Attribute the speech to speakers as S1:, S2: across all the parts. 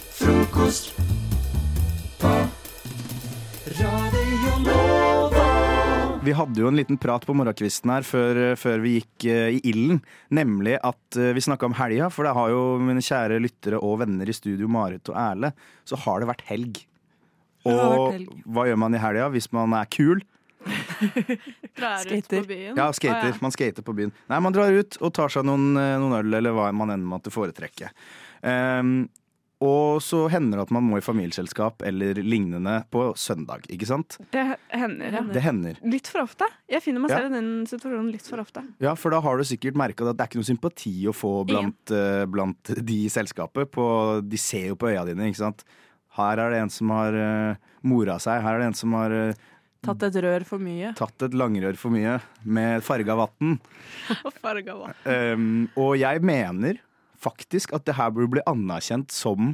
S1: Frokost på Radio Nova.
S2: Vi hadde jo en liten prat på morgenkvisten her før, før vi gikk eh, i ilden. Nemlig at eh, vi snakka om helga, for det har jo mine kjære lyttere og venner i studio, Marit og Erle, så har det vært helg.
S3: det har
S2: Og
S3: vært helg.
S2: hva gjør man i helga hvis man er kul?
S4: Drar ut på
S3: Skater.
S4: byen.
S2: Ja, skater.
S4: Å,
S2: Man skater på byen. Nei, man drar ut og tar seg noen, eh, noen øl, eller hva man enn måtte foretrekke. Ehm, og så hender det at man må i familieselskap eller lignende på søndag, ikke sant?
S5: Det hender, ja.
S2: Det hender.
S5: Litt for ofte. Jeg finner meg
S2: Ja.
S5: selv i den situasjonen litt for ofte.
S2: Ja, for da har du sikkert merka at det er ikke noe sympati å få blant, eh, blant de i selskapet. På, de ser jo på øya dine, ikke sant. Her er det en som har eh, mora seg, her er det en som har eh,
S3: Tatt et rør for mye.
S2: tatt et langrør for mye med farga vann.
S4: ja. Og farga hva?
S2: Um, og jeg mener faktisk at det her burde bli anerkjent som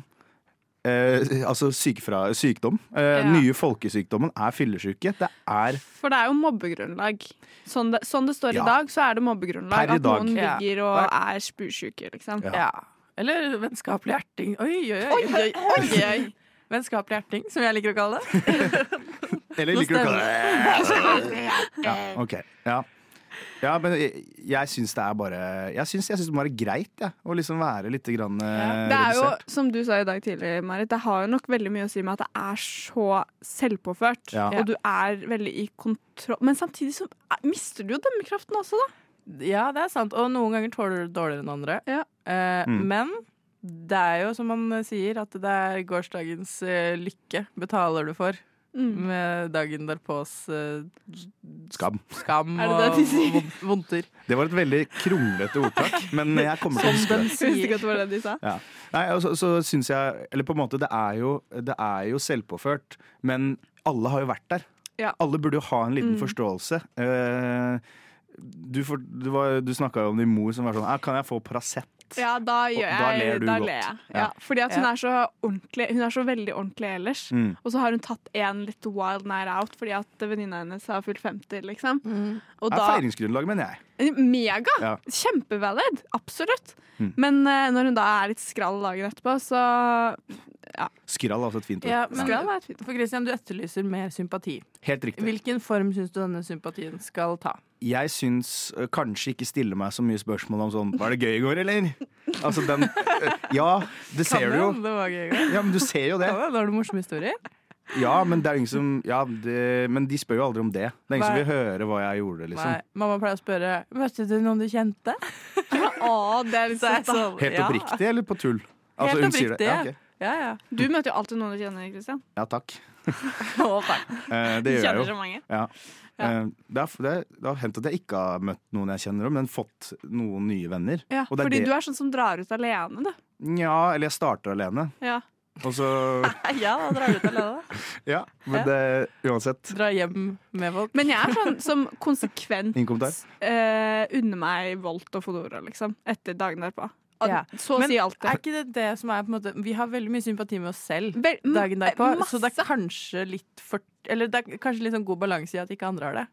S2: eh, altså sykefra, sykdom. Eh,
S4: Ja.
S2: Nye folkesykdommen er fyllesyke. Det er
S5: For det er jo mobbegrunnlag. Sånn det, sånn det står
S2: Ja.
S5: i dag, så er det mobbegrunnlag.
S2: Per i
S5: At noen
S3: dag.
S5: ligger og er spursjuke, liksom.
S2: Ja.
S3: Ja. Eller vennskapelig erting. Oi, oi, oi.
S4: Oi, oi, oi.
S3: Vennskapelig erting, som jeg liker å kalle det.
S2: Eller
S3: Nå
S2: liker du ikke det? Ja, ok. Ja. Ja, men jeg, jeg syns det er bare Jeg syns, jeg syns det må være greit, jeg. Å liksom være litt grann, eh,
S5: Det er jo,
S2: redusert.
S5: som du sa i dag tidlig, Marit, det har jo nok veldig mye å si med at det er så selvpåført.
S2: Ja.
S5: Og du er veldig i kontroll. Men samtidig så mister du jo dømmekraften også, da.
S3: Ja, det er sant. Og noen ganger tåler du det dårligere enn andre.
S5: Ja.
S3: Eh,
S2: Mm.
S3: Men det er jo som man sier, at det er gårsdagens eh, lykke betaler du for.
S4: Mm.
S3: Med dagen derpås eh,
S2: Skam.
S3: skam
S5: Er det
S3: og
S5: det de sier?
S3: von- vondter.
S2: Det var et veldig kronglete ordtak, men jeg kommer til å huske det.
S5: Jeg visste ikke at det var det de sa.
S2: Ja. Nei, og så, så syns jeg Eller på en måte, det er, jo, det er jo selvpåført, men alle har jo vært der.
S5: Ja.
S2: Alle burde jo ha en
S3: Mm.
S2: liten forståelse. Eh, du for, du, var- du snakka jo om din mor som var sånn «Ah, Kan jeg få Paracet?
S5: Ja, da, gjør
S2: Og da
S5: jeg,
S2: ler du
S5: da
S2: godt.
S5: ler jeg.
S2: Ja.
S5: Ja. fordi at hun,
S3: Ja.
S5: er så ordentlig, hun er så veldig ordentlig ellers.
S2: Mm.
S5: Og så har hun tatt en litt wild night out fordi at venninna hennes har fylt 50, liksom. Og
S2: Det er
S5: da
S2: feiringsgrunnlag, mener jeg.
S5: Mega!
S2: Mm. Ja.
S5: Kjempevalid! Absolutt.
S2: Mm.
S5: Men eh, når hun da er litt skrall dagen etterpå, så
S2: Skrall er også et fint ord.
S3: Ja, men
S5: Skrall er et fint ord.
S3: for Christian, du etterlyser mer sympati.
S2: Helt riktig.
S3: Hvilken form syns du denne sympatien skal ta?
S2: jeg syns ø, kanskje ikke stille meg så mye spørsmål om sånn Var det gøy i går, eller? Altså den ø, Ja, det ser du jo.
S3: Det var gøy. i går.
S2: Ja, men du ser jo det.
S3: Kan hende, Da har du morsomme historier.
S2: Ja, men det er jo ingen som Ja, det, men de spør jo aldri om det. Det er ingen som vil høre hva jeg gjorde,
S3: Nei,
S2: liksom.
S3: mamma pleier å spørre Møtte du noen du kjente.
S5: Å, det er litt
S3: Så
S5: søtt,
S3: jeg
S5: da.
S3: sånn,
S2: Helt
S3: ja.
S2: oppriktig eller på tull? Altså,
S3: Helt
S2: hun sier det.
S3: oppriktig,
S2: Ja,
S3: ja.
S2: ok.
S3: Ja, ja.
S5: Du møter jo alltid noen du kjenner, Christian.
S2: ja takk.
S3: Å, takk.
S2: Eh,
S5: Du
S2: det gjør
S5: kjenner
S2: jeg jo.
S5: så mange.
S2: Ja. Eh, Det har, det, det har hendt at jeg ikke har møtt noen jeg kjenner om, men fått noen nye venner.
S5: Ja,
S2: Og det er
S5: fordi
S2: det-
S5: du er sånn som drar ut alene, du.
S2: Nja, eller jeg starter alene,
S5: Ja.
S2: og så
S3: Ja, da drar du ut alene.
S2: Ja, men det, uansett.
S3: Dra hjem med folk.
S5: Men jeg er sånn som konsekvent
S2: Ingen kommentar?
S5: eh, unner meg Volt og Fodora, liksom. Etter dagen derpå. Al-
S3: Ja.
S5: Så å
S3: Men
S5: si alltid.
S3: Er ikke det det som er på en måte Vi har veldig mye sympati med oss selv
S5: Vel, mm,
S3: dagen derpå,
S5: masse.
S3: så det er kanskje litt for Eller det er kanskje litt sånn god balanse i at ikke andre har det.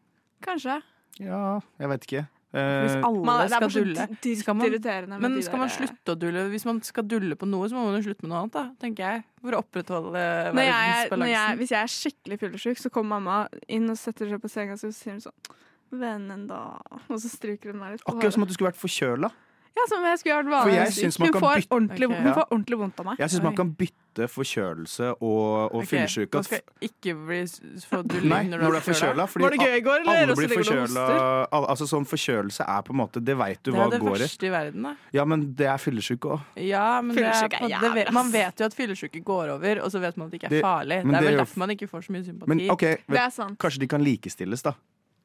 S5: Kanskje.
S2: Ja, jeg vet ikke.
S3: Hvis
S2: Eh,
S3: alle
S5: Man, det er
S3: skal
S5: bare så
S3: dulle.
S5: dri- dritt
S3: Skal man-
S5: irriterende med
S3: Men
S5: de
S3: skal man
S5: der- eh.
S3: slutte å dulle? Hvis man skal dulle på noe, så må man jo slutte med noe annet, da, tenker jeg. For å opprettholde
S5: Når jeg, når jeg,
S3: verdensbalansen.
S5: hvis jeg er skikkelig fyllesyk, så kommer mamma inn og setter seg på senga og så sier hun sånn Vennen, da. Og så stryker hun meg litt på
S2: Akkurat som
S5: håret.
S2: at du skulle vært forkjøla.
S5: Ja, som om jeg skulle vært
S2: For
S5: vanlig
S2: jeg synes man
S5: syk. Hun,
S2: kan
S5: får
S2: bytte-
S5: ordentlig-
S3: Ok.
S5: hun får ordentlig vondt av meg.
S2: Jeg syns
S3: Oi.
S2: man kan bytte forkjølelse og, og
S3: Ok,
S2: fyllesyke.
S3: Man
S2: At-
S3: skal ikke bli s- få dulling
S2: Nei, når du er forkjøla. Fordi
S5: Var det gøy i går,
S2: al-
S5: eller?
S2: alle
S5: Og så
S2: blir
S5: ligger du og
S2: forkjøla.
S5: hoster.
S2: al- Altså sånn forkjølelse er på en måte Det veit du
S3: Det
S2: hva
S3: er det
S2: går i.
S3: verste i verden, da.
S2: Ja, men det er fyllesyke òg.
S3: Ja, men det er,
S5: Fyllesyke er
S3: på en måte- det
S5: jævlig,
S3: vet,
S5: ass.
S3: man vet jo at fyllesyke går over, og så vet man at det ikke er
S2: Det-
S3: farlig.
S2: men
S3: Det
S2: det
S3: er vel
S2: gjør-
S3: derfor man ikke får så mye sympati.
S2: Men OK,
S5: Det
S2: men,
S5: er sant.
S2: kanskje de kan likestilles, da.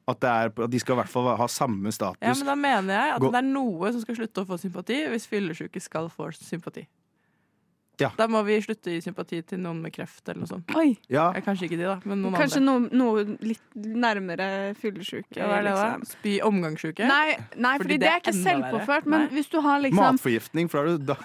S2: At, det er, at de skal i hvert fall ha samme status.
S3: Ja, men da mener jeg at
S2: Gå-
S3: det er noe som skal slutte å få sympati, hvis fyllesyke skal få sympati.
S2: Ja.
S3: Da må vi slutte å gi sympati til noen med kreft eller noe sånt.
S5: Oi.
S2: ja,
S3: Ja, kanskje ikke de, da, men noen
S5: Kanskje
S3: andre.
S5: noe, noe litt nærmere fyllesyke.
S3: Ja, hva er det da?
S5: liksom.
S3: Spy omgangssyke?
S5: Nei, nei fordi, det er ikke
S3: enda
S5: selvpåført,
S3: verre.
S5: men
S3: Nei.
S5: hvis du har liksom
S2: matforgiftning, for da er du da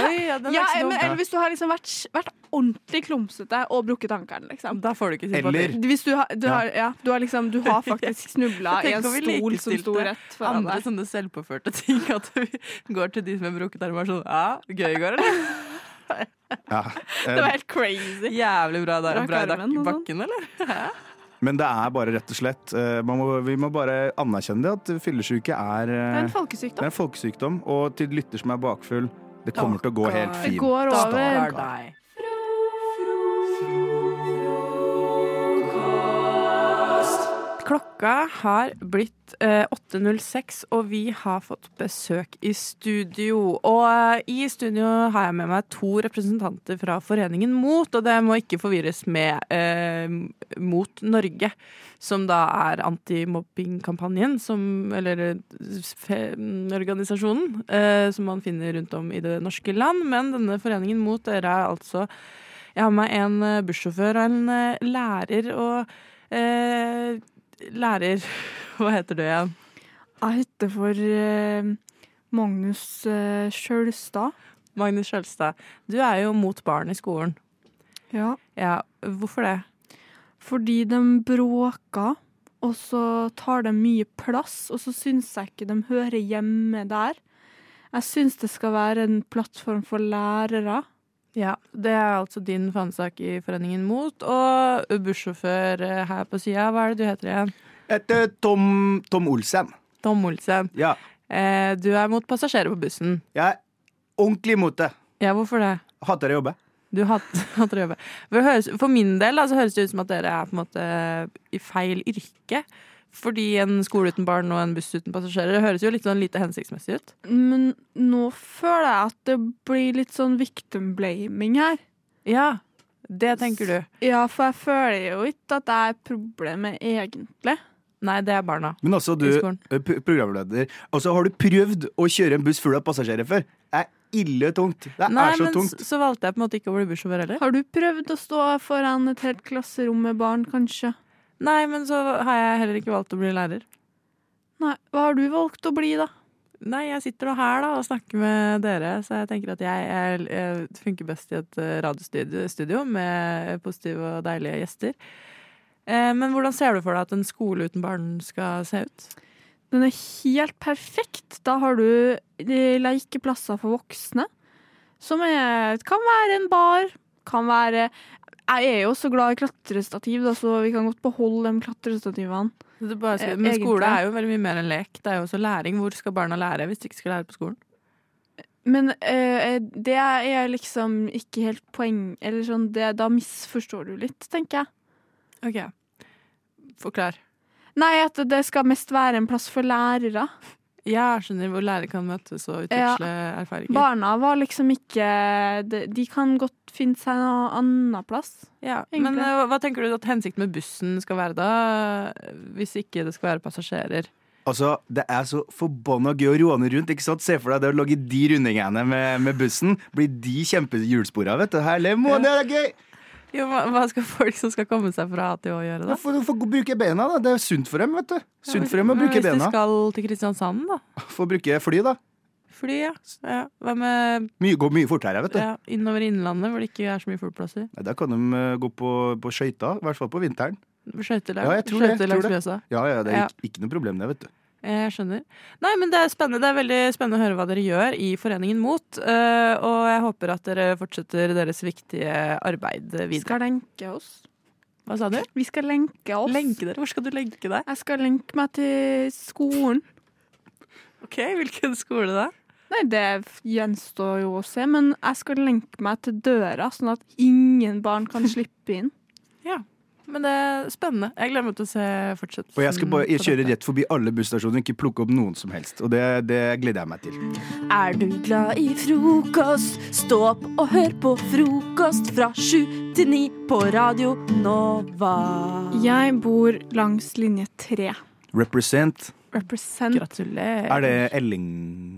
S3: Oi, ja, den er
S5: ja,
S3: ikke så
S5: men,
S3: dum.
S5: eller hvis du har liksom vært, vært ordentlig klumsete og brukket ankelen, liksom.
S3: Da får du ikke sympati.
S2: Eller-
S5: Hvis du har, du
S2: Ja.
S5: har, ja, du har, liksom, du har faktisk snubla i
S3: Jeg
S5: en
S3: tenker vi
S5: stol som sto
S3: likestilte
S5: rett foran
S3: andre
S5: deg.
S3: sånne selvpåførte ting. At vi går til de som har brukket armer sånn Ja, gøy i går, eller?
S6: var,
S2: Ja.
S6: det var
S2: Eh,
S6: helt crazy.
S3: Jævlig bra der
S5: Rakk
S3: bra i
S5: armen og sånn.
S3: bakken, eller?
S2: Men det er bare rett og slett eh, man må, Vi må bare anerkjenne det, at fyllesyke er
S5: Det er
S2: eh,
S5: en
S2: Det
S5: folkesykdom.
S2: er en folkesykdom, og til lytter som er bakfull, det kommer til å gå helt
S5: Det
S2: fint.
S5: går over.
S3: Stakkar deg. Klokka har blitt eh, 8.06, og vi har fått besøk i studio. Og eh, i studio har jeg med meg to representanter fra Foreningen MOT, og det må ikke forvirres med eh, Mot Norge, som da er antimobbingkampanjen, som Eller eh, fe, organisasjonen eh, som man finner rundt om i det norske land. Men denne Foreningen MOT, dere er altså Jeg har med meg en eh, bussjåfør og en eh, lærer og eh, Lærer Hva heter du igjen?
S5: Jeg heter for eh, Magnus eh, Skjølstad.
S3: Magnus Skjølstad. Du er jo mot barn i skolen.
S5: Ja.
S3: Ja, hvorfor det?
S5: Fordi de bråker, og så tar de mye plass, og så syns jeg ikke de hører hjemme der. Jeg syns det skal være en plattform for lærere.
S3: Ja, Det er altså din fanesak i Foreningen MOT. Og bussjåfør eh, her på sida, hva er det du heter igjen?
S2: Etter Tom, Tom Olsen.
S3: Tom Olsen.
S2: Ja.
S3: Eh, du er mot passasjerer på bussen.
S2: Jeg er ordentlig imot det.
S3: Ja, hvorfor det?
S2: Hater å jobbe.
S3: Du hat- hater å jobbe. For, det høres, for min del da, så høres det ut som at dere er på en måte i feil yrke. Fordi en skole uten barn og en buss uten passasjerer det høres jo litt sånn lite hensiktsmessig ut.
S5: Men nå føler jeg at det blir litt sånn victim blaming her.
S3: Ja, det tenker du.
S5: Ja, for jeg føler jo ikke at det er problemet, egentlig.
S3: Nei, det er barna
S2: Men også du,
S3: i skolen.
S2: eh, p- programleder, altså har du prøvd å kjøre en buss full av passasjerer før? Det er ille tungt. Det
S3: Nei,
S2: er så
S3: men
S2: tungt.
S3: s- så valgte jeg på en måte ikke å bli bussjåfør heller.
S5: Har du prøvd å stå foran et helt klasserom med barn, kanskje?
S3: Nei, men så har jeg heller ikke valgt å bli lærer.
S5: Nei, hva har du valgt å bli, da?
S3: Nei, jeg sitter nå her da og snakker med dere, så jeg tenker at jeg, er- jeg funker best i et eh, radiostudio studio med positive og deilige gjester. Eh, Men hvordan ser du for deg at en skole uten barn skal se ut?
S5: Den er helt perfekt. Da har du eh, lekeplasser for voksne. Som er, kan være en bar, kan være Jeg er jo så glad i klatrestativ, da, så vi kan godt beholde de klatrestativene.
S3: Det er bare,
S5: Eh,
S3: Altså, men skole
S5: egentlig.
S3: er jo veldig mye mer enn lek. Det er jo også læring. Hvor skal barna lære hvis de ikke skal lære på skolen?
S5: Men eh, det er liksom ikke helt poeng Eller sånn, det, da misforstår du litt, tenker jeg.
S3: Ok, forklar.
S5: Nei, at det skal mest være en plass for lærere.
S3: Jeg skjønner hvor lærere kan møtes og utveksle erfaringer.
S5: Barna var liksom ikke De, de kan godt finne seg en annen plass.
S3: Ja,
S5: Egentlig.
S3: men eh, hva tenker du at hensikten med bussen skal være da, hvis ikke det skal være passasjerer?
S2: Altså, Det er så forbanna gøy å råne rundt. ikke sant? Se for deg det å logge de rundingene med, med bussen. Blir de kjempehjulspora, vet du. Herlig, må, det er gøy!
S3: Jo, hva, hva skal folk som skal komme seg fra A til Å gjøre da?
S2: Få få bruke bena, da. Det er sunt for dem, vet du. Sunt for dem å
S3: Men
S2: bruke
S3: Hvis
S2: bena.
S3: de skal til Kristiansand da?
S2: Få bruke fly, da.
S3: Fly, ja. ja. Hva med
S2: Mye, går mye fortere, vet du.
S3: ja, innover i innlandet hvor det ikke er så mye flyplasser?
S2: Nei, Da kan de eh, gå på, på skøyta, i hvert fall på vinteren.
S3: Skøyter
S2: Ja, jeg tror det, jeg tror
S3: langs
S2: det.
S3: Mjøsa.
S2: Ja, ja, Det er
S3: Ja.
S2: Ikke, ikke noe problem, det, vet du.
S3: Jeg skjønner. Nei, men det er spennende. Det er veldig spennende å høre hva dere gjør i Foreningen MOT. eh, Og jeg håper at dere fortsetter deres viktige arbeid
S5: Vi
S3: videre.
S5: skal lenke oss.
S3: Hva sa du?
S5: Vi skal lenke oss.
S3: Lenke dere? Hvor skal du lenke deg?
S5: Jeg skal lenke meg til skolen.
S3: Ok, Hvilken skole da?
S5: Nei, det gjenstår jo å se, men jeg skal lenke meg til døra, sånn at ingen barn kan slippe inn.
S3: Men det er spennende. Jeg glemmer til å se fortsettelsen.
S2: Og jeg skal bare jeg
S3: på
S2: kjører
S3: dette.
S2: rett forbi alle busstasjoner, ikke plukke opp noen som helst. Og det, det gleder jeg meg til.
S3: Mm.
S7: Er du glad i frokost? Stå opp og hør på frokost fra sju til ni på Radio Nova.
S5: Jeg bor langs linje tre.
S2: Represent.
S5: Represent.
S3: Gratulerer.
S2: Er det Elling...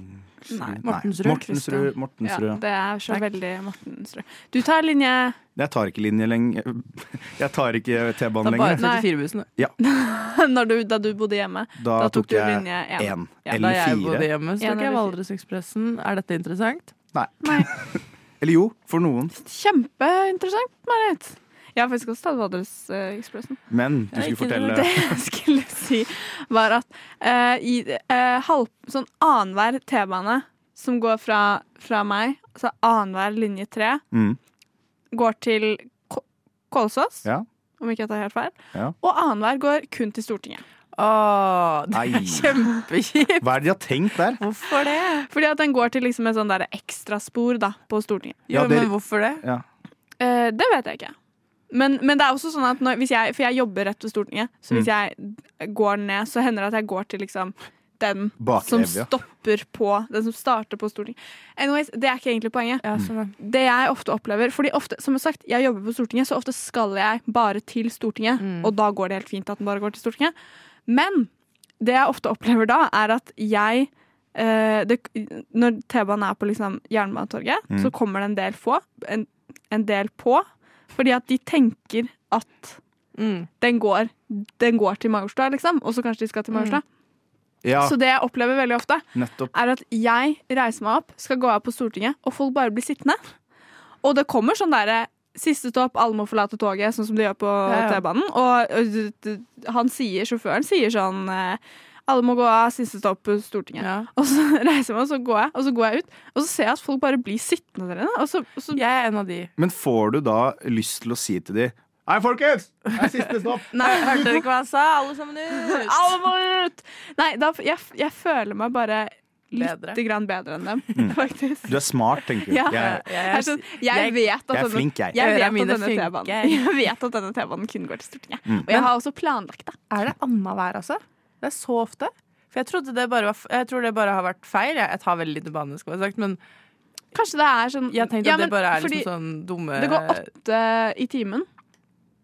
S5: Nei,
S3: Eh, Mortensrud,
S2: Mortensrud.
S3: Kristian.
S5: Ja,
S2: Mortensrud.
S5: det er så veldig Mortensrud. Du tar linje
S2: Jeg tar ikke linje lenger. Jeg tar ikke
S3: Da
S2: T-banen
S3: bare
S2: lenger.
S5: Nei.
S3: 34-bussen.
S5: når du, da du bodde hjemme.
S2: Da
S5: Da
S2: tok
S5: tok du
S2: jeg
S5: linje én.
S2: én
S5: Ja,
S3: Da
S2: eller
S3: jeg bodde
S2: fire.
S3: hjemme, så
S5: En
S3: tok
S5: eller
S3: jeg
S5: fire.
S3: Valdresekspressen. Er dette interessant?
S2: Eller jo, for noen.
S5: Kjempeinteressant, Marit. Jeg har faktisk også tatt Vadelesekspressen.
S2: Men Mm, du
S3: Ja,
S2: skulle
S3: ikke
S2: fortelle
S5: Det jeg skulle si, var at eh, i, eh, halv, sånn annenhver T-bane som går fra, fra meg, altså annenhver linje tre,
S2: Mm.
S5: går til K- Kolsås,
S2: Ja.
S5: om ikke jeg tar helt feil,
S2: Ja.
S5: og annenhver går kun til Stortinget.
S3: Åh, det
S2: Nei.
S3: er kjempekjipt.
S2: Hva er det de har tenkt der?
S3: Hvorfor det?
S5: Fordi at den går til liksom et sånn der ekstraspor da, på Stortinget.
S2: Ja,
S3: Jo,
S2: dere-
S3: men hvorfor det?
S2: Ja.
S5: Eh, det vet jeg ikke. Men, men det er også sånn at når, hvis jeg, for jeg jobber rett ved Stortinget, så hvis jeg går ned, så hender det at jeg går til liksom den som
S2: Bakevja.
S5: stopper på, den som starter på Stortinget. Anyways, det er ikke egentlig poenget. Mm.
S3: Ja, sånn.
S5: Det jeg ofte opplever, fordi ofte, som jeg har sagt, jeg jobber på Stortinget, så ofte skal jeg bare til Stortinget, og da går det helt fint at den bare går til Stortinget. Men det jeg ofte opplever da, er at jeg eh, det, Når T-banen er på liksom Jernbanetorget,
S2: Mm.
S5: så kommer det en del få, en, en del på, fordi at de tenker at
S3: Mm.
S5: den går, den går til Majorstua, liksom, og så kanskje de skal til Majorstua.
S2: Ja,
S5: Så det jeg opplever veldig ofte,
S2: nettopp.
S5: er at jeg reiser meg opp, skal gå av på Stortinget, og folk bare blir sittende. Og det kommer sånn derre Siste stopp, alle må forlate toget, sånn som de gjør på
S3: Ja, ja.
S5: T-banen. Og ø, d- d- han sier, sjåføren sier sånn eh, Alle må gå av, siste stopp på Stortinget.
S3: Ja.
S5: Og så reiser jeg meg, og så går jeg, og så går jeg ut. Og så ser jeg at folk bare blir sittende der inne. Og så, og så
S3: Jeg er en av de.
S2: Men får du da lyst til å si til de Hei, folkens! Det er siste stopp!
S3: Nei, hørte dere ikke hva han sa? Alle sammen ut!
S5: Alle må ut! Nei, da, jeg, jeg føler meg bare
S3: Bedre.
S5: lite grann bedre enn dem,
S2: Mm.
S5: faktisk.
S2: Du er smart, tenker du.
S5: Ja.
S2: Jeg,
S5: Jeg, er sånn, jeg,
S3: Jeg-
S5: vet at
S2: jeg er
S5: denne-
S2: flink, jeg.
S5: Jeg
S3: Øra
S5: vet, at
S3: mine
S5: denne
S3: funker.
S5: T-banen- jeg vet at denne T-banen kun går til Stortinget.
S2: Mm.
S5: Og jeg har også planlagt det.
S3: Er det annenhver, altså? Det er så ofte. For jeg, trodde det bare var, f- jeg tror det bare har vært feil. Jeg, jeg tar veldig lite bane, skulle jeg sagt, men
S5: Kanskje det er sånn
S3: jeg tenkte
S5: Ja,
S3: at det
S5: men
S3: bare er
S5: fordi
S3: liksom sånn dumme
S5: Det går åtte i timen,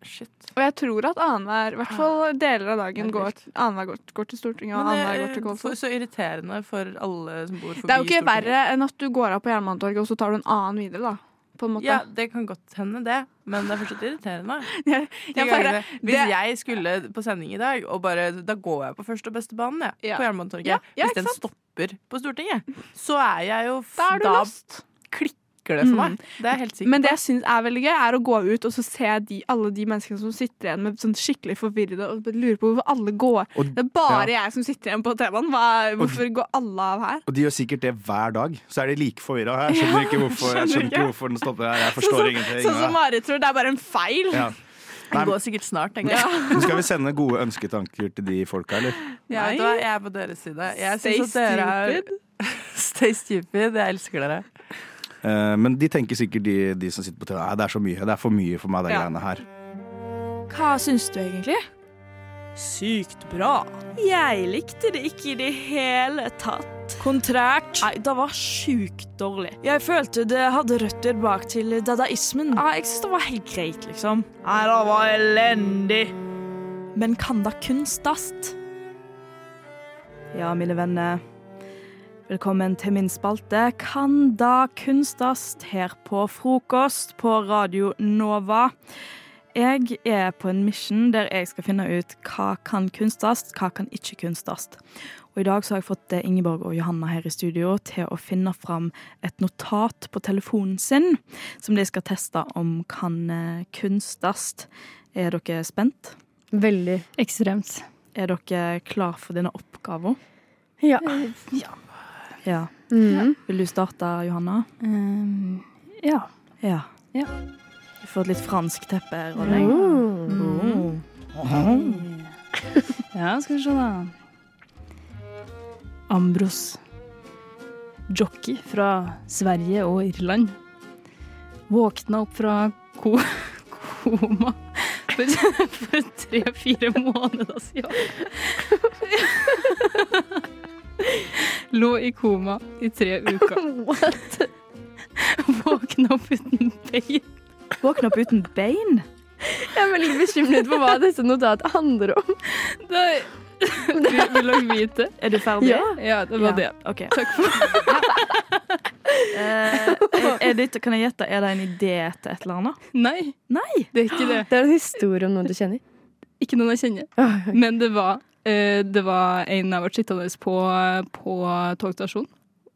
S3: Shit.
S5: og jeg tror at annenhver, i hvert fall deler av dagen,
S3: Det er
S5: går, annenhver går, går til Stortinget, og
S3: Men eh,
S5: annenhver går
S3: det
S5: til
S3: er for,
S5: Kolsås.
S3: så irriterende for alle som bor forbi
S5: Det er jo ikke
S3: Stortinget.
S5: verre enn at du går av på Jernbanetorget, og så tar du en annen videre, da. På en måte.
S3: Ja, det kan godt hende, det. Men det er fortsatt irriterende.
S5: Jeg-
S3: De
S5: jeg bare-
S3: gangene- hvis
S5: det-
S3: jeg skulle på sending i dag, og bare, da går jeg på første og beste banen, jeg.
S5: Ja.
S3: På Jernbanetorget.
S5: Ja, ja,
S3: hvis
S5: ikke
S3: den
S5: sant?
S3: stopper på Stortinget, så er jeg jo f-
S5: Da er du lost.
S3: klikker det
S5: Mm.
S3: for meg. Det er jeg helt sikkert.
S5: Men det jeg syns er veldig gøy, er å gå ut og så se de, alle de menneskene som sitter igjen med sånn skikkelig forvirrede og lurer på hvorfor alle går.
S2: Og-
S5: det er bare jeg som sitter igjen på T-banen. Hva- Hvorfor går alle av her?
S2: Og de gjør sikkert det hver dag. Så er de like forvirra. Jeg skjønner ikke hvorfor, jeg skjønner ikke hvorfor den stopper her. Jeg forstår ingenting.
S5: Sånn som Mari tror, det er bare en feil.
S2: Ja. Nei,
S3: Det går sikkert snart, tenker jeg.
S2: men skal vi sende gode ønsketanker til de folka, eller?
S3: Ja, vet du hva? Jeg er på deres side. Jeg synes at dere er Stay stupid. Jeg elsker dere.
S2: Eh, men de tenker sikkert, de, de som sitter på TV, Nei, det er så mye. Det er for mye for meg, de
S5: Ja.
S2: greiene her.
S8: Hva syns du egentlig?
S9: Sykt bra.
S8: Jeg likte det ikke i det hele tatt. Kontrært.
S9: Nei, det var sjukt dårlig.
S8: Jeg følte det hadde røtter bak til dadaismen.
S9: Nei, jeg syns det var helt greit, liksom. Nei, det var elendig.
S8: Men kan da kunstast? Ja, mine venner. Velkommen til min spalte Kan da kunstast her på frokost på Radio Nova. Jeg er på en mission der jeg skal finne ut hva kan kunstast, hva kan ikke kunstast. Og I dag så har jeg fått eh, Ingeborg og Johanna her i studio til å finne fram et notat på telefonen sin som de skal teste om kan eh, kunstast. Er dere spent?
S10: Veldig. Ekstremt.
S8: Er dere klar for denne oppgaven?
S10: Ja.
S11: Eh,
S8: Ja.
S10: Mm.
S8: Vil du starte, Johanna?
S10: Um, ja.
S8: Ja.
S10: Ja.
S8: Du får et litt fransk teppe, Ronny. Oh.
S10: Uh. Ja, skal vi se, da. Ambros. Jockey fra Sverige og Irland. Våkna opp fra ko koma for, for tre-fire måneder siden. Lå i koma i tre uker. Våkna Mm. opp uten bein.
S8: Våkne opp uten bein?
S10: Jeg er veldig bekymret for hva dette notatet handler om. Det vil, vil dere vite?
S8: Er du ferdig?
S10: Ja, ja, det var det.
S8: Ok.
S10: Takk for
S8: Eh, er, er det, kan jeg gjette, er det en idé til et eller annet?
S10: Nei,
S8: Nei!
S10: det er ikke det.
S11: Det er en historie om noen du kjenner. Ah.
S10: Ikke noen jeg kjenner. Men det var, eh, det var en jeg ble sittende på på togstasjonen.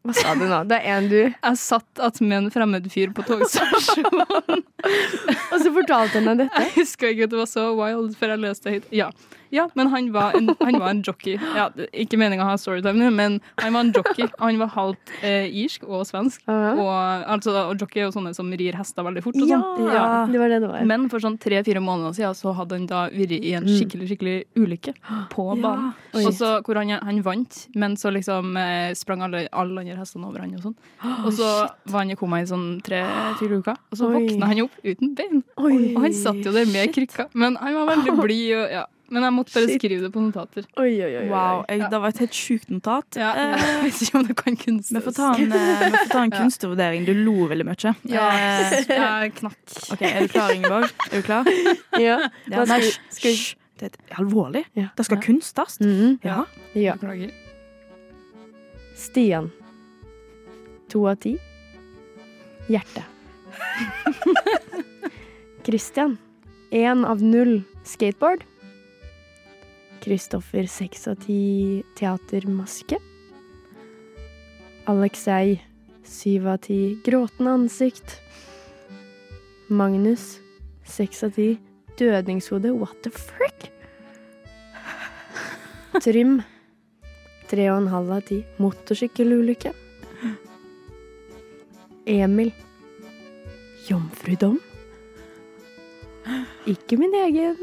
S11: Hva sa du nå? Det er en du
S10: Jeg satt attmed en fremmed fyr på togstasjonen.
S11: Og så fortalte han deg dette.
S10: Jeg husker ikke at det var så wild før jeg leste det høyt. Ja. Ja, men han var en, han var en jockey. Ja, det- ikke meninga å ha storytime nå, men han var en jockey. Han var halvt eh, irsk og svensk. Og, altså, og jockey er jo sånne som rir hester veldig fort og sånn.
S11: Ja, det var det det var.
S10: Men for sånn tre-fire måneder siden så hadde han da vært i en skikkelig skikkelig ulykke på banen.
S11: Mm. Oi.
S10: Og så hvor han, han vant, men så liksom eh, sprang alle, alle andre hestene over han og sånn. Og så var han i koma i sånn tre-fire uker, og så
S11: Oi.
S10: våkna han opp uten bein.
S11: Oi.
S10: Og han satt jo der med krykka, men han var veldig blid. og ja. Men jeg måtte bare
S11: Shit.
S10: skrive det på notater.
S11: Oi, oi, oi. oi.
S5: Wow, jeg, det var et helt sjukt notat. Eh,
S10: Ja, jeg vet ikke om det kan kunstes.
S5: Vi får ta en, eh, vi får ta en kunstnervurdering. Du lo veldig mye.
S10: Ja,
S5: Eh,
S10: jeg knakk.
S5: OK, er du klar, Ingeborg? Er du klar?
S11: Ja.
S5: Ja,
S11: Hva
S5: nei,
S11: skal-
S5: hysj. hysj. Det er alvorlig.
S11: Ja.
S5: Det skal kunstes.
S11: Mhm.
S5: Ja.
S11: ja.
S10: Beklager.
S11: Stian. To av ti. Hjerte. Christian. Én av null. Skateboard. Kristoffer. Seks av ti. Teatermaske. Alexei. Syv av ti. Gråtende ansikt. Magnus. Seks av ti. Dødningshode. What the frick? Trym. Tre og en halv av ti. Motorsykkelulykke. Emil. Jomfrudom. Ikke min egen.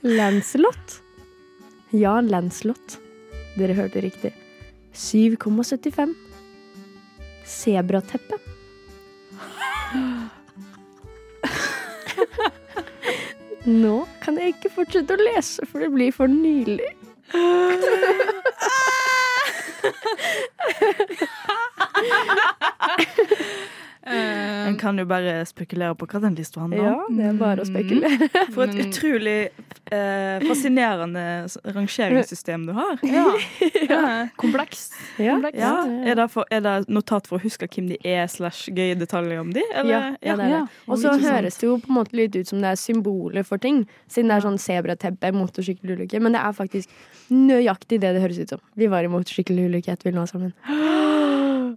S11: Lancelot. Ja, Lancelot. Dere hørte riktig. 7,75. Sebrateppe. Nå kan jeg ikke fortsette å lese, for det blir for nylig.
S10: Eh,
S5: En kan jo bare spekulere på hva den lista handler om.
S11: Ja,
S5: Mm.
S11: det er bare å spekulere.
S5: For et
S10: Mm. men-
S5: utrolig eh, fascinerende s- rangeringssystem du har.
S10: ja. Komplekst.
S11: Ja,
S5: Ja, er, det for, er det notat for å huske hvem de er, slash gøye detaljer om de?
S11: Ja,
S5: Eller?
S11: ja, det er det. Og så høres det jo på en måte litt ut som det er symboler for ting, siden det er sånn sebrateppe, motorsykkelulykke, men det er faktisk nøyaktig det det høres ut som. Vi var i motorsykkelulykke etter vi nå sammen.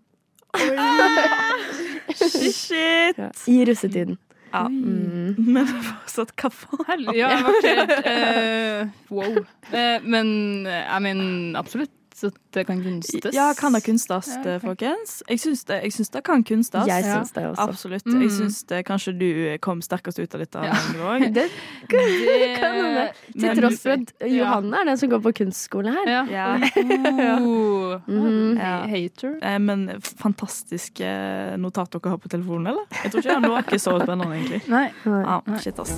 S5: Shit!
S11: Ja. I russetiden.
S5: Ja.
S11: Mm.
S5: Men fortsatt, hva faen?
S10: Herlig. Ja, jeg var ikke helt eh, Wow. Eh, men eh, jeg mener absolutt at det kan kunstes.
S5: Ja, kan det kunstes,
S10: Ja, takk.
S5: folkens? Jeg syns det, jeg syns det kan kunstes.
S11: Jeg syns det også.
S5: Absolutt.
S10: Mm.
S5: Jeg syns det, kanskje du kom sterkest ut av dette.
S10: Ja.
S5: Ingeborg.
S11: Det,
S10: Det
S11: kan hende. til
S10: men-
S11: tross for at Johanne er den som går på kunstskole her.
S10: Ja.
S5: Ja. Mm.
S10: Oh.
S11: Mhm.
S5: Ja.
S10: Hater.
S5: Eh, Men fantastiske notat dere har på telefonen, eller? Jeg tror ikke jeg har noe så spennende, egentlig.
S10: Nei.
S5: Ja, shit, ass.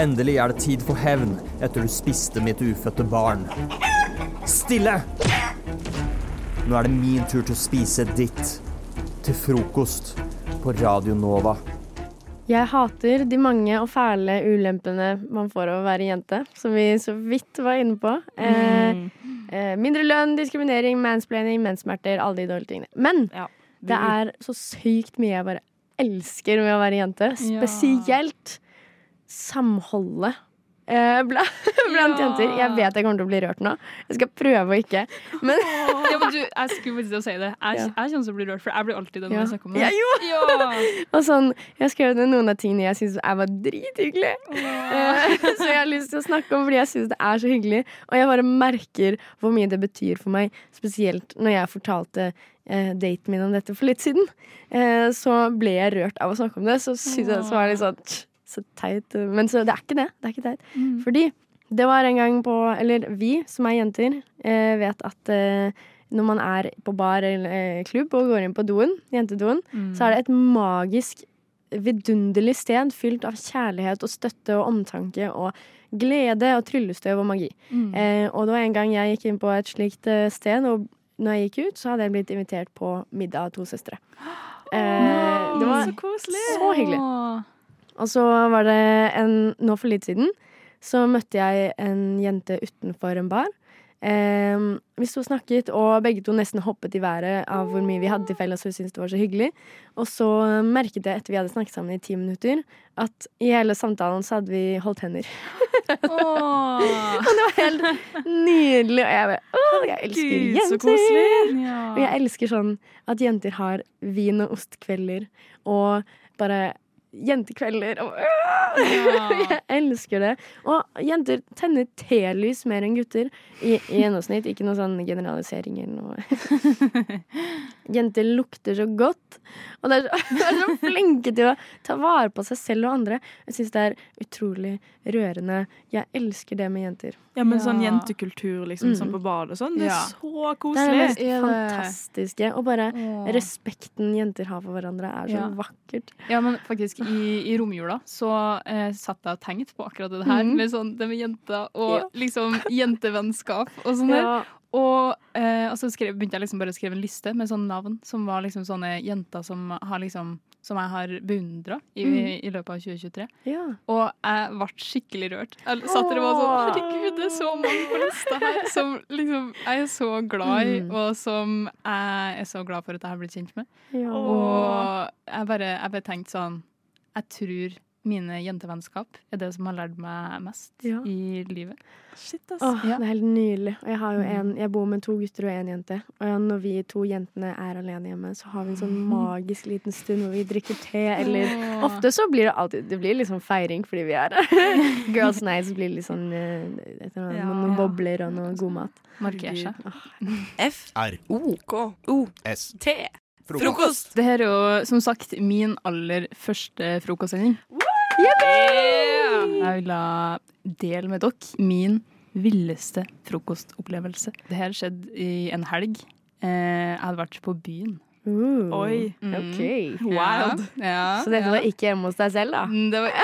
S12: Endelig er det tid for hevn etter du spiste mitt ufødte barn. Stille! Nå er det min tur til å spise ditt. Til frokost på Radio Nova.
S11: Jeg hater de mange og fæle ulempene man får av å være jente, som vi så vidt var inne på. Eh,
S10: Mm.
S11: eh, mindre lønn, diskriminering, mansplaining, menssmerter, alle de dårlige tingene. Men
S5: Ja.
S11: det er så sykt mye jeg bare elsker med å være jente.
S10: Ja.
S11: Spesielt samholdet. eh, bla- Blant
S10: Ja.
S11: jenter. Jeg vet jeg kommer til å bli rørt nå. Jeg skal prøve å ikke. Men
S10: Ja, men du, jeg skulle faktisk til å si det. Jeg,
S11: Ja.
S10: jeg kommer til å bli rørt, for jeg blir alltid
S11: Ja.
S10: den når jeg snakker om det.
S11: Ja,
S10: Ja.
S11: Og sånn, jeg har skrevet ned noen av tingene jeg syns er bare drithyggelig. Eh, Så jeg har lyst til å snakke om fordi jeg syns det er så hyggelig. Og jeg bare merker hvor mye det betyr for meg, spesielt når jeg fortalte eh, daten min om dette for litt siden. Eh, så ble jeg rørt av å snakke om det. Så syns jeg det var litt sånn tsk, så teit. Men så det er ikke det. Det er ikke teit.
S5: Mm.
S11: Fordi det var en gang på Eller vi som er jenter, eh, vet at eh, når man er på bar eller eh, klubb og går inn på doen, jentedoen, så er det et magisk, vidunderlig sted fylt av kjærlighet og støtte og omtanke og glede og tryllestøv og magi.
S5: Mm.
S10: Mm.
S11: Eh, og det var en gang jeg gikk inn på et slikt eh, sted, og når jeg gikk ut, så hadde jeg blitt invitert på middag av to søstre. Eh, det var så hyggelig.
S10: Åh.
S11: Og så var det en, nå for litt siden, så møtte jeg en jente utenfor en bar. Eh, vi sto og snakket, og begge to nesten hoppet i været av hvor mye vi hadde til felles. Og vi syntes det var så hyggelig Og så merket jeg etter vi hadde snakket sammen i ti minutter, at i hele samtalen så hadde vi holdt hender.
S10: Åh.
S11: Det var helt nydelig. Og jeg bare Å, jeg elsker
S5: Gud, så
S11: jenter!
S5: koselig.
S11: Og jeg elsker sånn at jenter har vin- og ostkvelder og bare jentekvelder. Og, jeg elsker det. Og jenter tenner telys mer enn gutter i, i gjennomsnitt. Ikke noe sånn generalisering eller noe. Jenter lukter så godt, og de er, så- de er så flinke til å ta vare på seg selv og andre. Jeg syns det er utrolig rørende. Jeg elsker det med jenter.
S4: Ja, men sånn jentekultur liksom, sånn på badet og sånn, det er
S11: Ja.
S4: så
S11: Mm. Det er det
S4: koselig.
S11: mest fantastiske. Og bare
S10: Åh.
S11: respekten jenter har for hverandre, er så
S10: Ja.
S11: vakkert.
S10: Ja, men faktisk, i, i romjula så eh, satt jeg og tenkte på akkurat det her,
S11: Mhm.
S10: med sånn det med jenter og
S11: Ja.
S10: liksom jentevennskap og sånn der.
S11: Ja.
S10: Og, eh, og så skrev, begynte jeg liksom bare å skrive en liste med sånne navn som var liksom sånne jenter som, har liksom, som jeg har beundra i,
S11: Mhm.
S10: i løpet av 2023.
S11: Ja.
S10: Og jeg ble skikkelig rørt. Jeg satt der og var sånn
S11: Åh.
S10: Herregud, det er så mange på lista her som liksom, jeg er så glad i,
S11: Mm.
S10: og som jeg er så glad for at jeg har blitt kjent med.
S11: Ja.
S10: Og jeg bare, jeg bare tenkte sånn Jeg tror mine jentevennskap er det som har lært meg mest
S11: Ja.
S10: i livet.
S4: Shit, ass.
S11: Åh,
S10: Ja. Mm.
S11: Det er helt nydelig. Og jeg, har jo en, jeg bor med to gutter og én jente. Og når vi to jentene er alene hjemme, så har vi en sånn magisk liten stund hvor vi drikker te. Eller
S10: Mm. Åh.
S11: ofte så blir det alltid Det blir liksom feiring fordi vi er Girls Nights blir litt sånn eh, et eller annet,
S4: Ja.
S11: noen bobler og noe god mat.
S10: Markerer seg.
S12: F-O-K-O-S-T. Frokost.
S10: Det her er jo som sagt min aller første frokostsending. Jeg vil dele med dere min villeste frokostopplevelse. Det her skjedde i en helg. Eh, Jeg hadde vært på byen.
S11: Uh,
S4: Oi.
S11: OK.
S4: Wild.
S10: Ja, ja,
S11: Så dette
S10: ja.
S11: var ikke hjemme hos deg selv, da?
S10: Mm, Det var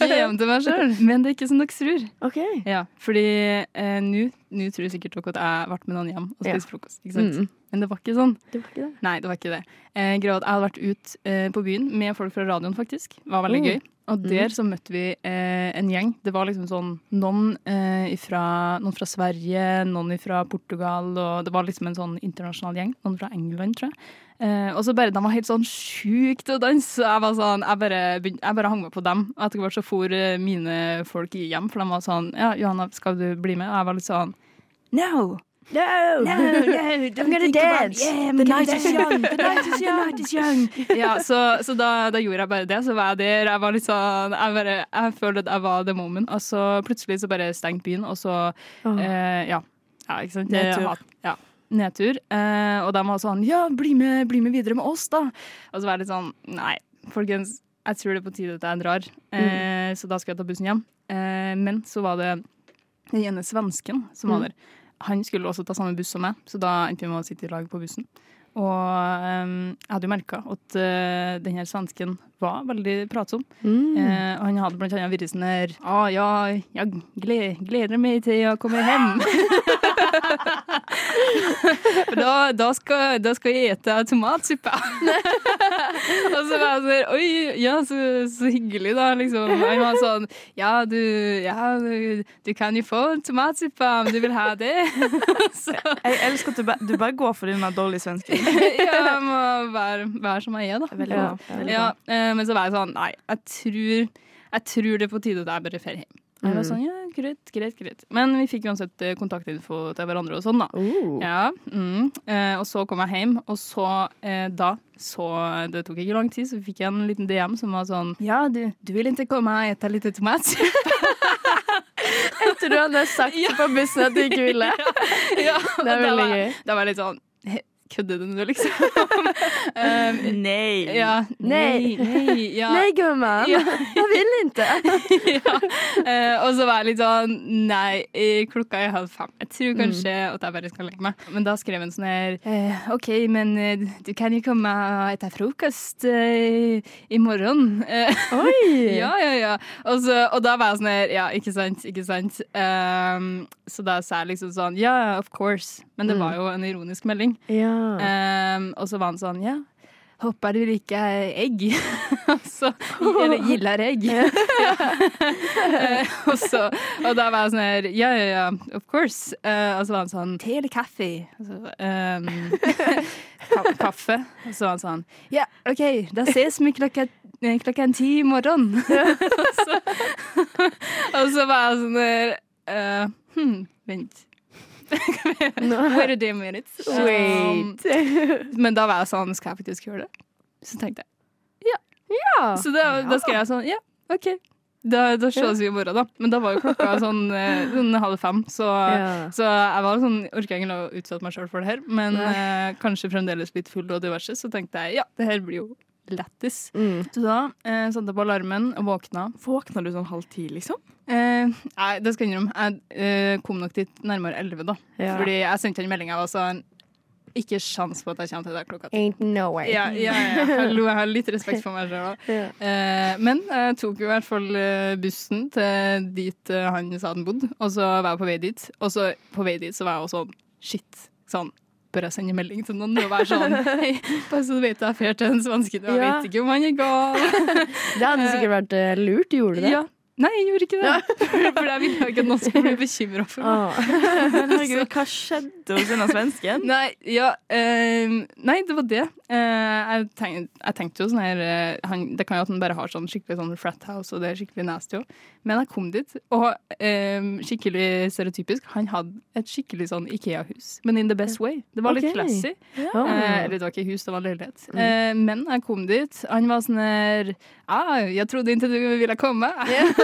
S10: ikke hjemme til meg sjøl, men det er ikke som dere tror.
S11: OK.
S10: Ja, fordi eh, nå nå tror sikkert dere at jeg ble med noen hjem og spiste frokost. Ikke sant?
S11: Mm.
S10: Men det var ikke sånn.
S11: Det var ikke det.
S10: Nei, det var ikke det. Eh, greia var at jeg hadde vært ut eh, på byen med folk fra radioen, faktisk. Det var veldig
S11: Mm.
S10: gøy. Og der så møtte vi eh, en gjeng. Det var liksom sånn noen, eh, ifra, noen fra Sverige, noen fra Portugal, og det var liksom en sånn internasjonal gjeng. Noen fra England, tror jeg. Eh, og så bare, De var helt sånn sjukt å danse. så Jeg var sånn, jeg bare, begyn- jeg bare hang med på dem. Og etter hvert så for eh, mine folk hjem, for de var sånn Ja, Johanna, skal du bli med? Og jeg var litt sånn No!
S13: I'm gonna dance. the night is young. The night is young.
S10: Ja, så, så da, da gjorde jeg bare det. Så var jeg der. Jeg var litt sånn Jeg, bare, jeg følte at jeg var the moment. Og så plutselig så bare stengte byen, og så eh, ja. ja. Ikke sant? Jeg
S4: Nedtur.
S10: hat- Ja. Nedtur. Eh, og de var sånn Ja, bli med, bli med videre med oss, da. Og så var jeg litt sånn Nei, folkens. Jeg tror det er på tide at jeg drar. Eh, Så da skal jeg ta bussen hjem. Eh, men så var det den ene svensken som var der. Han skulle også ta samme buss som meg, så da endte vi med å sitte i lag på bussen. Og eh, jeg hadde jo merka at eh, den her svensken var veldig pratsom.
S11: Mm.
S10: Eh, og han hadde blant annet vært sånn her Å ja, jeg gleder, gleder meg til jeg kommer hjem. For da, da, skal, da skal jeg ete tomatsuppe. og så var jeg sånn Oi, ja, så, så hyggelig, da. Liksom. Han var sånn Ja, du, ja, du, du kan jo få tomatsuppe om du vil ha det. så
S4: Jeg elsker at du, ba du bare går for den der dårlige svensken.
S10: ja, jeg må være, være som jeg er, da.
S4: Veldig
S11: Ja.
S10: Ja, eh, men så var jeg sånn Nei, jeg tror, jeg tror det er på tide at jeg bare drar hjem. Og
S4: Mm.
S10: Jeg var sånn, ja, greit, greit, greit. Men vi fikk uansett eh, kontaktinfo til hverandre og sånn, da.
S11: Oh.
S10: Ja, mm. eh, Og så kom jeg hjem, og så eh, da så Det tok ikke lang tid, så fikk jeg en liten DM som var sånn Ja, du, du vil ikke komme og ete litt tomat?
S11: Etter du hadde sagt på bussen at du ikke ville.
S10: ja,
S11: Det er veldig gøy.
S10: Da var jeg litt sånn «He, Kødder du nå, liksom? um,
S4: Nei.
S10: ja.
S11: Nei.
S10: nei, ja.
S11: Nei, gumman.
S10: Ja.
S11: Jeg vil ikke.
S10: ja. Eh, og så var jeg litt sånn Nei, eh, klokka er halv fem. Jeg
S11: Mm.
S10: tror kanskje at jeg bare skal legge meg. Men da skrev hun sånn her eh, OK, men eh, du kan jo komme og spise frokost eh, i morgen. Eh,
S11: Oi.
S10: ja, ja, ja. Og, så, og da var jeg sånn her Ja, ikke sant, ikke sant. Ehm, så da sa jeg liksom sånn Ja, yeah, of course. Men det var jo en ironisk melding.
S11: Ja.
S10: Ehm, og så var han sånn, ja, håper du liker egg. Og så, eller gillar egg. Eh, og, så, og da var jeg sånn her, ja, ja, ja, of course. Eh, og så var han sånn, te eller kaffe? Og så, ehm, ka- kaffe. Og så var han sånn, ja, ok, da ses vi klokka, eh, klokka ti i morgen. og, så, og så var jeg sånn her, eh, hm, vent. Wait a damn minute. Um,
S11: Wait.
S10: men da var jeg sånn, skal jeg faktisk gjøre det? Så tenkte jeg, ja, Ja. Så da, da skrev jeg sånn Ja, OK. Da, Eh, da slås vi i morgen, da. Men da var jo klokka sånn, eh, sånn halv fem, så,
S11: Ja.
S10: så jeg var sånn orka ikke å utsette meg sjøl for det her. Men eh, kanskje fremdeles litt full og diverse, så tenkte jeg ja, det her blir jo lættis. Så da eh, satte jeg på alarmen og våkna. Våkna du sånn halv ti, liksom? Eh, nei, det skal jeg innrømme. Jeg eh, kom nok dit nærmere elleve, da.
S11: Ja.
S10: Fordi jeg sendte en melding jeg var sånn Ikke sjans på at jeg kommer til deg klokka ti.
S11: Ain't no way.
S10: Ja, ja, ja. Hallo, jeg har litt respekt for meg sjøl òg.
S11: Ja.
S10: Eh, men jeg tok jo i hvert fall eh, bussen til dit eh, han sa han bodde, og så var jeg på vei dit. Og så på vei dit så var jeg også sånn shit. Sånn, bør jeg sende melding til noen og være sånn hei, bare så du vet jeg drar til den svensken, og jeg
S11: Ja.
S10: vet ikke om han er gal.
S11: Det hadde sikkert vært eh, lurt. Gjorde du det?
S10: Ja. Nei, jeg gjorde ikke det. For jeg ville jo ikke at noen skulle bli bekymra for meg.
S11: Ah. Men
S10: herregud,
S13: hva skjedde hos denne svensken?
S10: Nei, ja, ehm, nei, det var det. Eh, jeg, tenk, jeg tenkte jo sånn her eh, han, Det kan jo at han bare har sånn skikkelig sånn frat house, og det er skikkelig nasty òg. Men jeg kom dit, og ehm, skikkelig stereotypisk, han hadde et skikkelig sånn Ikea-hus, men in the best way. Det var
S11: Ok.
S10: litt classy.
S11: Ja. Mm.
S10: Eh, eller det var ikke hus, det var leilighet. Eh, men jeg kom dit, han var sånn her ah, 'Jeg trodde ikke du ville komme'.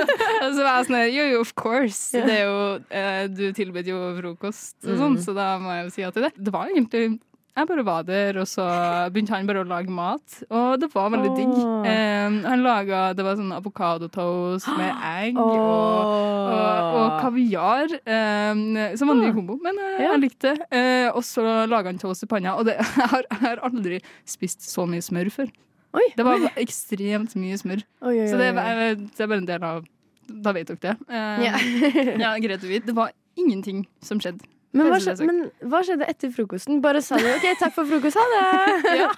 S10: og så var jeg sånn her 'Jo, jo, of course'.
S11: Ja.
S10: Det er jo, eh, du tilbød jo frokost og sånn,
S11: Mm.
S10: så da må jeg jo si ja til det. Det var egentlig jeg bare var der, og så begynte han bare å lage mat. Og det var veldig digg.
S11: Åh.
S10: Eh, han laga Det var sånn avokadotoast med egg og, og, og
S11: Åh.
S10: kaviar. eh, som vanlig kombo, men eh,
S11: Ja.
S10: jeg likte det. Eh, og så laga han toast i panna, og det, jeg, har, jeg har aldri spist så mye smør før.
S11: Oi.
S10: Det var ekstremt mye smør.
S11: Oi, oi,
S10: Så det,
S11: oi,
S10: var-
S11: oi.
S10: jeg vet- det er bare en del av Da vet dere det. Eh,
S11: Ja.
S10: ja, greit å vite. Det var ingenting som skjedde.
S11: Men hva,
S10: Kanskje det er
S11: skjedde, men hva skjedde etter frokosten? Bare sa du OK, takk for frokost, ha det!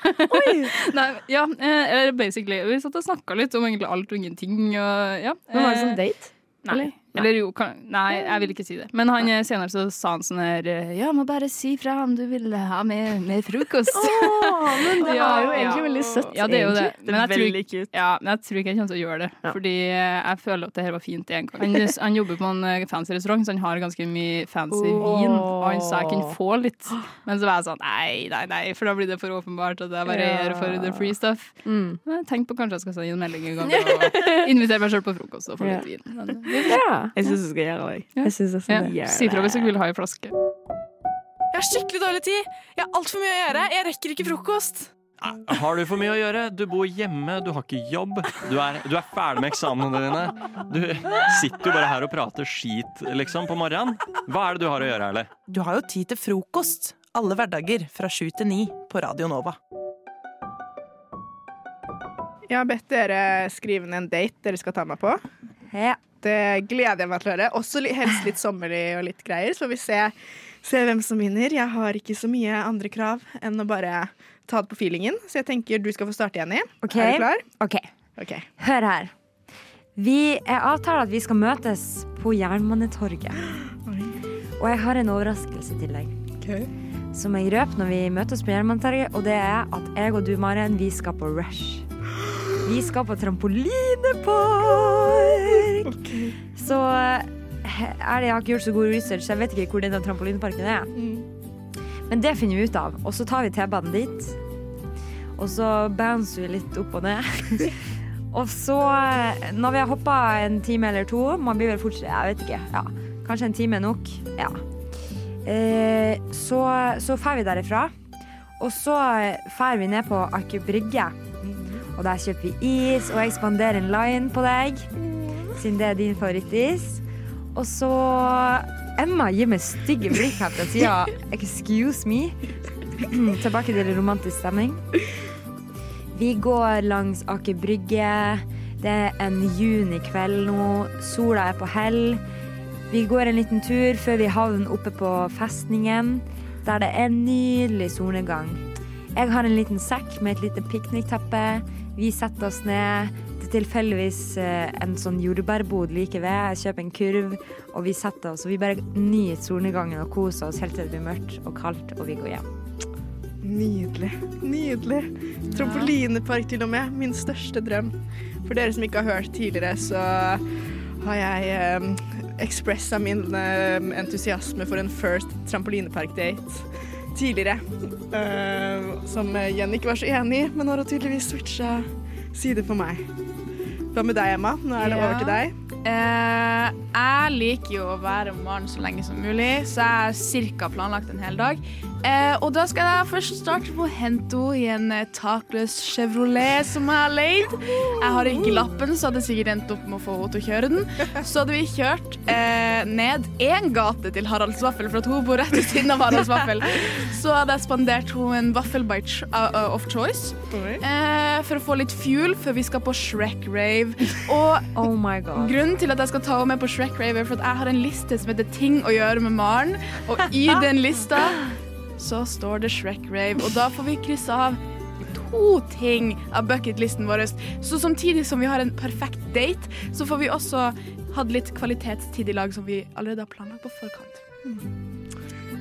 S10: Nei, ja, eh, eller basically. Vi satt og snakka litt om egentlig alt og ingenting. Og, ja.
S11: Men var det sånn
S10: Eh,
S11: date?
S10: Nei. Eller jo, kan, nei, jeg vil ikke si det. Men han, eh, senere så sa han sånn her eh, Ja, må bare si fra om du vil ha mer, mer frokost.
S11: men det
S10: Ja,
S11: er jo egentlig
S10: ja.
S11: veldig søtt,
S10: Ja, det er jo det.
S13: Det er veldig
S10: ikke, ja, men jeg tror ikke jeg kommer til å gjøre det. Fordi eh, jeg føler at det her var fint en gang. Han, han jobber på en eh, fancy restaurant, så han har ganske mye fancy vin. Og han sa jeg kunne få litt. Men så var jeg sånn nei, nei, nei, for da blir det for åpenbart at jeg bare gjør for the free stuff.
S11: Mm.
S10: Men jeg tenkte på kanskje jeg skal sende en melding en gang og invitere meg sjøl på frokost og få
S11: Ja.
S10: litt vin. Men,
S11: Ja.
S13: Jeg syns du skal gjøre det.
S10: Ja.
S11: Jeg syns også det.
S10: ja. Si fra hvis du vil ha en flaske.
S4: Jeg har skikkelig dårlig tid. Jeg har altfor mye å gjøre. Jeg rekker ikke frokost.
S12: Har du for mye å gjøre? Du bor hjemme, du har ikke jobb. Du er, du er ferdig med eksamene dine. Du sitter jo bare her og prater skit, liksom, på morgenen. Hva er det du har å gjøre, Erle?
S4: Du har jo tid til frokost. Alle hverdager fra sju til ni på Radio Nova.
S14: Jeg har bedt dere skrive ned en date dere skal ta meg på. Det gleder jeg meg til å høre. Også li- helst litt sommerlig og litt greier, så får vi se, se hvem som vinner. Jeg har ikke så mye andre krav enn å bare ta det på feelingen, så jeg tenker du skal få starte, Jenny.
S15: Ok.
S14: Er du klar?
S15: Ok.
S14: Ok.
S15: Hør her. Vi er avtalt at vi skal møtes på Jernbanetorget. Og jeg har en overraskelse til deg. Som jeg røper når vi møtes på Jernbanetorget, og det er at jeg og du, Maren, vi skal på Rush. Vi skal på trampolinepark! Så eh, he- ærlig, jeg har ikke gjort så god research, så jeg vet ikke hvor denne trampolineparken er. Men det finner vi ut av, og så tar vi T-banen dit. Og så bouncer vi litt opp og ned. Og så, eh, når vi har hoppa en time eller to Man blir vel fort Jeg vet ikke. Ja. Kanskje en time er nok. Ja. Eh, så så drar vi derifra. Og så eh, drar vi ned på Arkup Brygge. Og der kjøper vi is, og jeg spanderer en line på deg, siden det er din favorittis. Og så Emma gir meg stygge blikk her fra sida. Excuse me. Tilbake til romantisk stemning. Vi går langs Aker Brygge. Det er en junikveld nå. Sola er på hell. Vi går en liten tur før vi havner oppe på festningen, der det er en nydelig solnedgang. Jeg har en liten sekk med et lite piknikteppe. Vi setter oss ned. Det er tilfeldigvis eh, en sånn jordbærbod like ved. Jeg kjøper en kurv, og vi setter oss. Og vi bare nyter solnedgangen og koser oss helt til det blir mørkt og kaldt, og vi går hjem.
S14: Nydelig. Nydelig. Trampolinepark til og med. Min største drøm. For dere som ikke har hørt tidligere, så har jeg um, ekspressa min eh, entusiasme for en first trampolinepark-date tidligere. Eh, som Jenny ikke var så enig i, men har hun tydeligvis switcha Si det for meg. Hva med deg, Emma? Nå er det over til deg.
S5: Eh, jeg liker jo å være om morgenen så lenge som mulig, så jeg har cirka planlagt en hel dag. Eh, og da skal jeg først starte på Hento i en eh, takløs Chevrolet som jeg har leid. Jeg har ikke lappen, så hadde jeg sikkert endt opp med å få henne til å kjøre den. Så hadde vi kjørt eh, ned én gate til Haralds Vaffel, for at hun bor rett ved siden av Haralds Vaffel. Så hadde jeg spandert henne en vaffel by ch uh, uh, of choice eh, for å få litt fuel før vi skal på Shrek-rave. Og
S15: Oh my god.
S5: Grunnen til at jeg skal ta henne med på Shrek Rave, er for at jeg har en liste som heter Ting å gjøre med Maren. Og i den lista så står det Shrek Rave. Og da får vi krysse av to ting av bucketlisten vår. Så samtidig som vi har en perfekt date, så får vi også hatt litt kvalitetstid i lag som vi allerede har planlagt på forkant.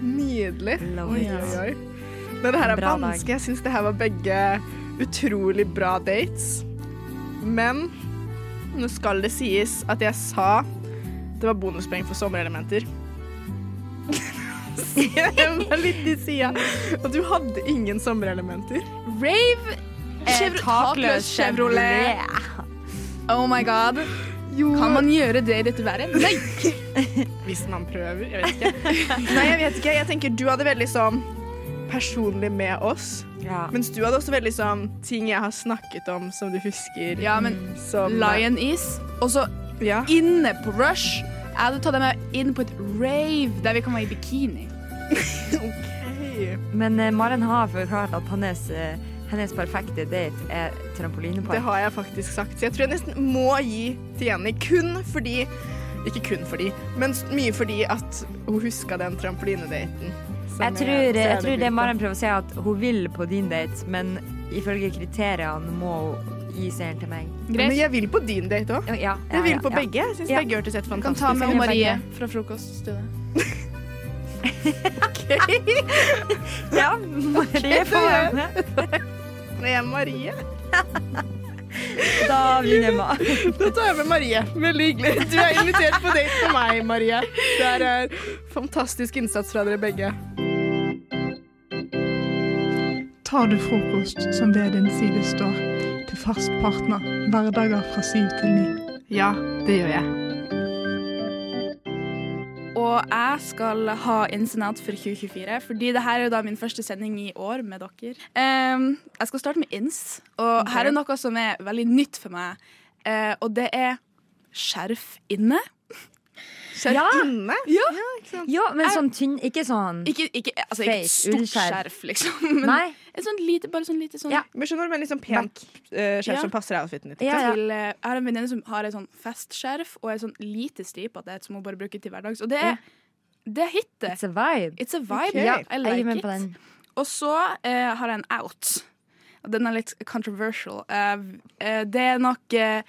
S14: Nydelig.
S5: Love
S14: Oi,
S5: it.
S14: oi, oi. Nei, det her er
S5: Bra dag.
S14: vanskelig. Jeg syns det her var begge utrolig bra dates. Men nå skal det sies at jeg sa det var bonuspoeng for sommerelementer. Så jeg var litt i sida. Og du hadde ingen sommerelementer.
S5: Rave
S14: Chevro-
S5: takløs Eh, Chevrolet. Oh my god. Kan man gjøre det i dette været? Nei!
S14: Hvis man prøver. Jeg vet ikke. Nei, jeg vet ikke. Jeg tenker du hadde veldig sånn personlig med oss. Mens du hadde også veldig sånn ting jeg har snakket om som du husker.
S5: Ja, men
S14: som,
S5: Lion Is, og så inne på Rush. Jeg hadde tatt deg med inn på et rave der vi kan være i bikini.
S15: Men eh, Maren har forklart at hennes, eh, hennes perfekte date er trampolinepark.
S14: Det har jeg faktisk sagt. Så jeg tror jeg nesten må gi til Jenny kun fordi Ikke kun fordi, men s- mye fordi at hun huska den trampolinedaten. som
S15: Jeg tror,
S14: ser
S15: jeg
S14: det
S15: tror
S14: ut
S15: det
S14: på.
S15: Maren prøver å si, er at hun vil på din date, men ifølge kriteriene må hun gi seieren til meg.
S14: Men jeg vil på din date òg.
S15: Ja,
S14: jeg vil
S15: ja,
S14: på
S15: ja.
S14: begge. Jeg syns
S15: Ja.
S14: begge hørtes helt
S5: Kan
S14: fantastisk
S5: ta med Marie
S14: ut.
S5: fra frokoststudiet.
S15: ja,
S14: Marie
S15: får være med.
S14: Det er Marie.
S15: Da vinner Emma.
S14: Da tar jeg med Marie. Veldig hyggelig. Du er invitert på date med meg, Marie. Det er eh, fantastisk innsats fra dere begge.
S16: Tar du frokost som det din side står, til fast partner hverdager fra syv til ni?
S14: Ja, det gjør jeg.
S5: Og jeg skal ha Insenat for 2024, fordi det her er jo da min første sending i år med dere. Ehm, jeg skal starte med Ins, og her er noe som er veldig nytt for meg. Eh, og det er skjerf inne.
S14: Skjerf inne?
S5: Ja.
S15: Ja, men sånn tynn Ikke sånn
S5: Ikke, ikke, altså, ikke et
S15: fake
S5: stort skjerf,
S15: ullskjerf.
S5: liksom. Men
S15: Nei.
S5: Et sånn lite, bare sånn lite sånn.
S14: Men skjønner du, men liksom pent liksom? eh, skjerf
S5: Ja.
S14: som passer outfiten ditt.
S5: Jeg, vil, eh, jeg har en venninne som har et sånn festskjerf og et sånn lite stripete et som hun bare bruker til hverdags. Og det er, det er hit, det.
S15: It's a vibe.
S5: It's a vibe.
S15: Ok. Ja,
S5: I
S15: jeg gir
S5: like
S15: meg
S5: it.
S15: på den.
S5: Og så eh, har jeg en out. Og Den er litt controversial. Eh, eh, det er nok eh,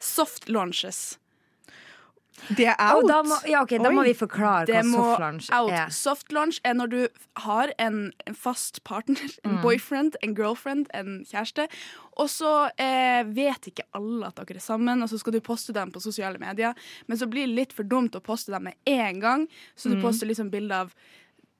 S5: soft launches.
S14: Det er
S15: out? Å, da må- ja, ok, da må vi forklare hva
S5: Det må
S15: soft launch
S5: out.
S15: er.
S5: Soft launch er når du har en, en fast partner, en
S15: Mm.
S5: boyfriend, en girlfriend, en kjæreste, og så eh, vet ikke alle at dere er sammen, og så skal du poste dem på sosiale medier, men så blir det litt for dumt å poste dem med en gang, så du
S14: Mm.
S5: poster liksom bilde av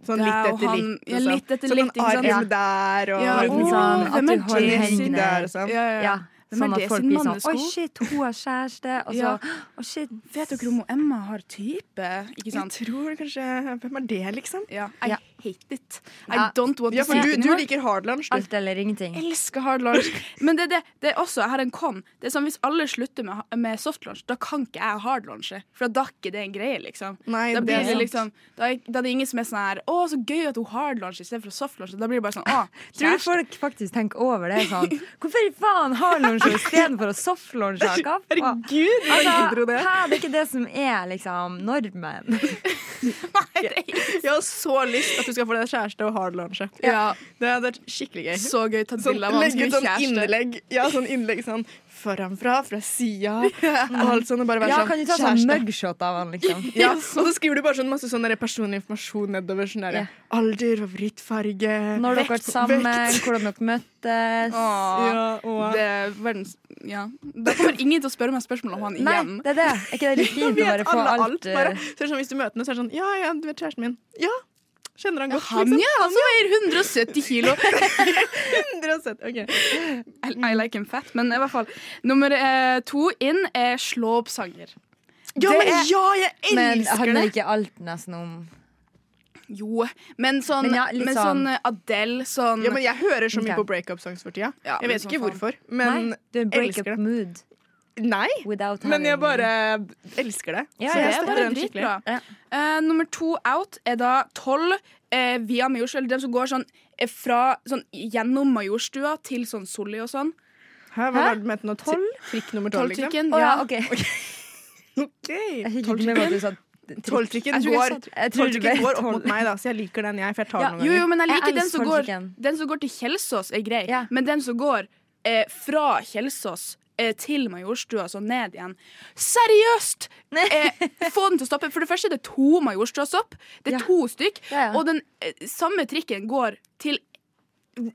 S14: Sånn
S5: deg
S14: litt
S5: og
S14: etter
S5: han-
S14: litt.
S5: Ja, litt etter litt,
S14: Sånn
S5: ikke
S14: en
S5: sant?
S14: arm der og
S5: Ja,
S14: liksom,
S5: å,
S14: sånn,
S5: hvem er
S15: at du holder
S5: det sin-
S15: hendene
S14: der og sånn.
S5: Ja, ja, ja.
S15: Ja,
S5: Hvem er
S15: sånn at
S5: det
S15: folk
S5: sin
S15: blir sånn
S5: mannesko?
S15: Oi, shit, hun har kjæreste. Og så
S5: Ja.
S15: Å, shit.
S5: Vet dere om Emma har type? Ikke sant?
S14: Jeg tror kanskje Hvem er det, liksom?
S5: Ja, I
S15: Ja.
S5: hate it. I
S15: Ja.
S5: don't want
S15: Ja, for
S5: to see
S15: du-
S5: it
S15: du
S5: anymore.
S15: liker
S14: hard lunch,
S15: du. Alt eller ingenting.
S5: Jeg elsker hard lunch. Men det, er det, det er også, jeg har en con. Det er sånn, Hvis alle slutter med, med soft lunch, da kan ikke jeg hard lunche. For da er ikke det en greie, liksom.
S14: Nei,
S5: da,
S14: det
S5: blir
S14: er
S5: det, liksom
S14: sant.
S5: da, er, da er det ingen som er sånn her Å, så gøy at hun hard lunch istedenfor soft lunch. Da blir det bare sånn Å,
S15: Tror du folk faktisk tenker over det? sånn Hvorfor i faen har lunsj istedenfor å softlunsje? Hva faen?
S14: Herregud, jeg ikke tro det.
S15: hæ, det er ikke det som er liksom normen.
S14: Jeg har så lyst at du skal få deg kjæreste og hard lunch.
S5: Ja.
S14: Det hadde vært skikkelig gøy.
S5: Så gøy tatt
S14: Sånn,
S5: bilde av hva man
S14: legge ut
S5: skulle
S14: sånn
S5: kjæreste.
S14: innlegg, ja, sånn innlegg sånn foranfra, fra sida og alt sånn. Og bare være
S15: Ja,
S14: sånn
S15: kan du ta sånn mugshot av han, liksom?
S14: Ja, og så skriver du bare sånn masse sånn der personlig informasjon nedover. Sånn der,
S15: Ja.
S14: Alder, favorittfarge
S15: Når dere har vært
S14: vekt-
S15: sammen,
S14: vekt.
S15: hvordan dere møttes.
S5: Åh,
S14: og-
S5: det er verdens Ja. Da kommer ingen til å spørre meg spørsmål om han
S14: Nei,
S5: igjen.
S15: det er det. Er ikke det litt
S14: Da
S15: fint å
S14: vet
S15: bare få
S14: alle
S15: alt,
S14: alt, bare. Så det er sånn, hvis du møter noen, så er det sånn Ja, ja, du vet kjæresten min. Ja. Kjenner han
S5: Ja,
S14: godt,
S5: han, ja, Liksom, han som veier 170 kilo.
S14: 170, ok.
S5: I, I like him fat, men i hvert fall. Nummer eh, to inn er slå opp sanger.
S14: Ja,
S5: Det
S14: men
S5: er-
S14: ja, jeg
S15: Men
S5: elsker
S15: handler
S5: det.
S15: ikke alt nesten om
S5: Jo, men sånn,
S15: Men
S5: men
S15: ja, litt
S5: sånn,
S15: sånn-
S5: Adele, sånn
S14: Ja, men jeg hører så mye
S5: Ok.
S14: på breakup-songs for tida.
S5: Ja,
S14: jeg
S5: men
S14: vet ikke
S5: som faen.
S14: hvorfor, men
S5: Nei, det er breakup
S14: elsker det.
S15: Mood.
S14: Nei, men jeg bare elsker det.
S5: Ja,
S14: Så
S5: det
S14: jeg
S5: er
S14: støtter
S5: bare
S14: den skikkelig.
S5: dritbra. Eh, nummer to out er da tolv eh, via Majorstua. Eller dem som går sånn eh, fra sånn gjennom Majorstua til sånn Solli og sånn.
S14: Hæ, hva var det du mente nå? Tolv? Trikk nummer tolv, liksom?
S5: Tolvtrikken,
S14: Å,
S5: ja.
S14: ja,
S15: Jeg
S14: Ok.
S15: fikk ikke med meg at du sa trikk.
S14: Tolvtrikken
S15: Jeg tror jeg
S14: går,
S15: sa trikk. Jeg tror det
S14: tolvtrikken
S15: ble
S14: går opp
S15: tolv.
S14: mot meg, da, så jeg liker den, jeg. For jeg tar
S5: Ja,
S14: den noen
S5: jo,
S14: ganger.
S5: jo, men jeg liker den som, går, den som går til Kjelsås, er grei. Men den som går eh, fra Kjelsås eh, til Majorstua, så ned igjen Seriøst! Eh, få den til å stoppe. For det første er det to Majorstua-stopp. Det er to stykk. Og den eh, samme trikken går til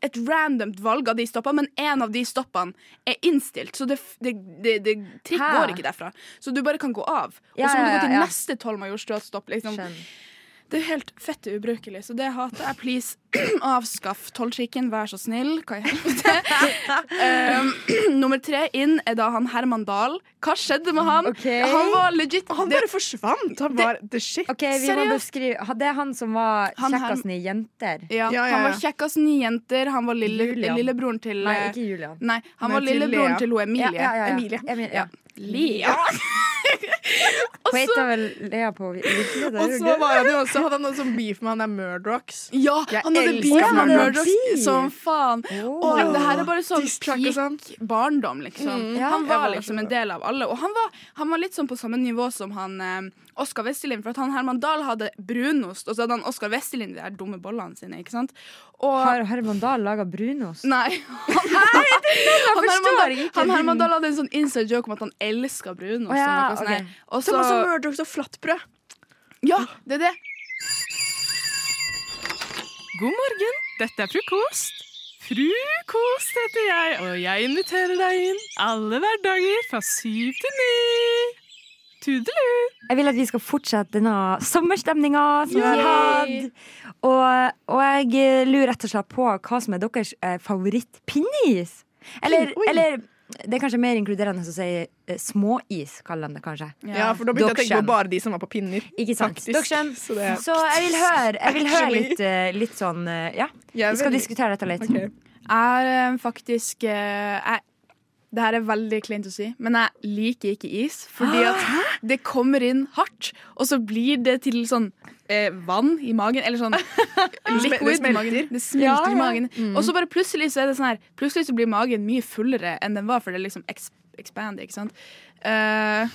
S5: et randomt valg av de stoppene, men én av de stoppene er innstilt. Så det, det, det, det trikk
S15: Hæ?
S5: går ikke derfra. Så du bare kan gå av.
S15: Ja,
S5: og så må
S15: ja,
S5: du gå til
S15: ja, ja.
S5: neste tolv Majorstua-stopp. Liksom.
S15: Skjønner.
S5: Det er helt fette ubrukelig, så det hater jeg. Please, avskaff tolvtrikken, vær så snill. Hva i helvete? um, nummer tre inn er da han Herman Dahl. Hva skjedde med han? Han var legit
S14: Han bare forsvant. Han var the shit.
S15: Ok, vi må beskrive ha- Det er han som var
S5: Han her-
S15: kjekkasen i Jenter.
S5: ja, Han var kjekkasen i Jenter. Han var lille,
S15: Julian.
S5: lillebroren til
S15: Nei,
S5: eh,
S15: ikke Julian.
S5: Nei, han
S15: Nei,
S5: var
S15: til
S5: lillebroren
S15: Lea.
S5: til, hun Emilie.
S15: Ja, ja, ja, ja. Emilie, ja.
S5: Lea.
S15: Hun heter vel Lea på virkelig? det
S14: Og
S15: gjør
S14: så
S15: du?
S14: var han jo også, hadde han noe sånn beef med han der Murdrocks.
S5: Ja, han hadde beef med Murdrocks som faen. Og
S14: Ja.
S5: det her er bare sånn
S14: Diss track og
S5: peak barndom, liksom.
S14: Mm. Ja,
S5: han
S14: jeg
S5: var
S14: var
S5: liksom
S14: også
S5: en
S14: det.
S5: del av alle. Og han var, han var litt sånn på samme nivå som han eh, Oskar Vestelin, for at han Herman Dahl hadde brunost, og så hadde han Oskar Vestelin de der dumme bollene sine, ikke sant? Og
S15: Har Herman Dahl laga brunost?
S5: Nei. Han, han, Herman,
S15: forstår
S5: Dahl,
S15: ikke.
S5: han Herman Dahl hadde en sånn inside joke om at han elska brunost.
S15: Å ja,
S5: og noe sånt
S15: ok.
S5: der. Og
S14: Som også
S5: Murdrocks og flatbrød. Ja, det er det.
S17: God morgen, dette er frokost. Frukost heter jeg, og jeg inviterer deg inn alle hverdager fra syv til ni. Tudelu!
S15: Jeg vil at vi skal fortsette denne sommerstemninga som vi har
S17: Yay!
S15: hatt. Og, og jeg lurer rett og slett på hva som er deres eh, favoritt-pinneis. Eller,
S14: Pin- oi.
S15: eller det er kanskje mer inkluderende å si eh, småis, kaller de det kanskje.
S14: Ja, for da begynte jeg å tenke
S15: Dokskjønn.
S14: på bare de som var på pinner.
S15: Ikke sant.
S14: faktisk.
S15: Dokskjønn.
S14: Så det-
S15: Så jeg vil høre, jeg vil høre
S5: Actually.
S15: litt, eh, litt sånn eh, Ja,
S5: Jeg
S15: vi skal
S5: vil-
S15: diskutere dette litt.
S5: Jeg er faktisk eh, jeg, Det her er veldig kleint å si, men jeg liker ikke is. Fordi at det kommer inn hardt, og så blir det til sånn eh, vann i magen. Eller sånn liquid i
S14: smelter.
S5: magen. Det
S14: Ja,
S5: smelter
S14: ja.
S5: i magen.
S14: Mm.
S5: Og så bare plutselig så er det sånn her Plutselig så blir magen mye fullere enn den var, for det er liksom eks- expander, ikke sant. Eh,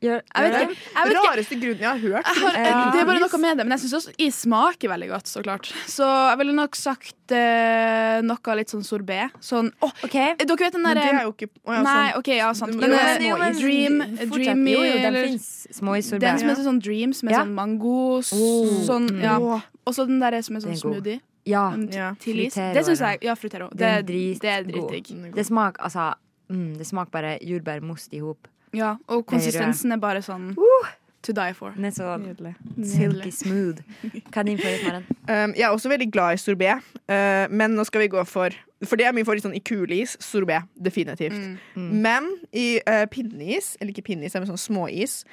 S5: jeg vet ikke. Jeg vet ikke.
S14: Rareste grunnen jeg har hørt.
S5: Jeg har,
S15: Eh,
S5: det er bare noe med det, men jeg syns også is smaker veldig godt. Så klart Så jeg ville nok sagt eh, noe litt sånn sorbé. Sånn åh, Dere vet den
S14: Men
S5: derre
S14: det er jo ikke- å ja,
S5: Nei,
S14: sånn.
S5: OK, ja, sant.
S14: Du må
S5: Den
S14: jo
S5: der
S14: ha småis.
S5: Dream,
S14: Fortsett.
S5: dreamy,
S14: Jo, jo, den
S5: eller-
S14: finnes småis-sorbet.
S5: Den som
S14: Ja.
S5: heter sånn Dream, som er
S14: Ja.
S5: sånn mango s-
S14: Oh.
S5: sånn,
S14: Mm.
S5: ja.
S14: Åh.
S5: Og så den derre som er sånn
S15: Den er god.
S5: smoothie.
S15: Ja.
S5: Mm,
S15: Ja.
S5: Til is.
S15: Frutero
S5: Det syns
S15: er
S5: jeg. Ja, frutero. Det,
S15: Den drit
S5: det er
S15: god.
S5: dritdigg.
S15: Det smaker altså mm, Det smaker bare jordbær most i hop.
S5: Ja, og
S15: Det er rød.
S5: konsistensen er bare sånn to die for.
S15: Uh! Den er så
S5: Nydelig.
S15: silky smooth. Hva er din favoritt, Maren?
S14: Um, jeg er også veldig glad i sorbet, uh, men nå skal vi gå for For det er min favoritt sånn i kuleis. Sorbet, definitivt.
S15: Mm,
S14: Men i uh, pinneis, eller ikke pinneis, men sånn småis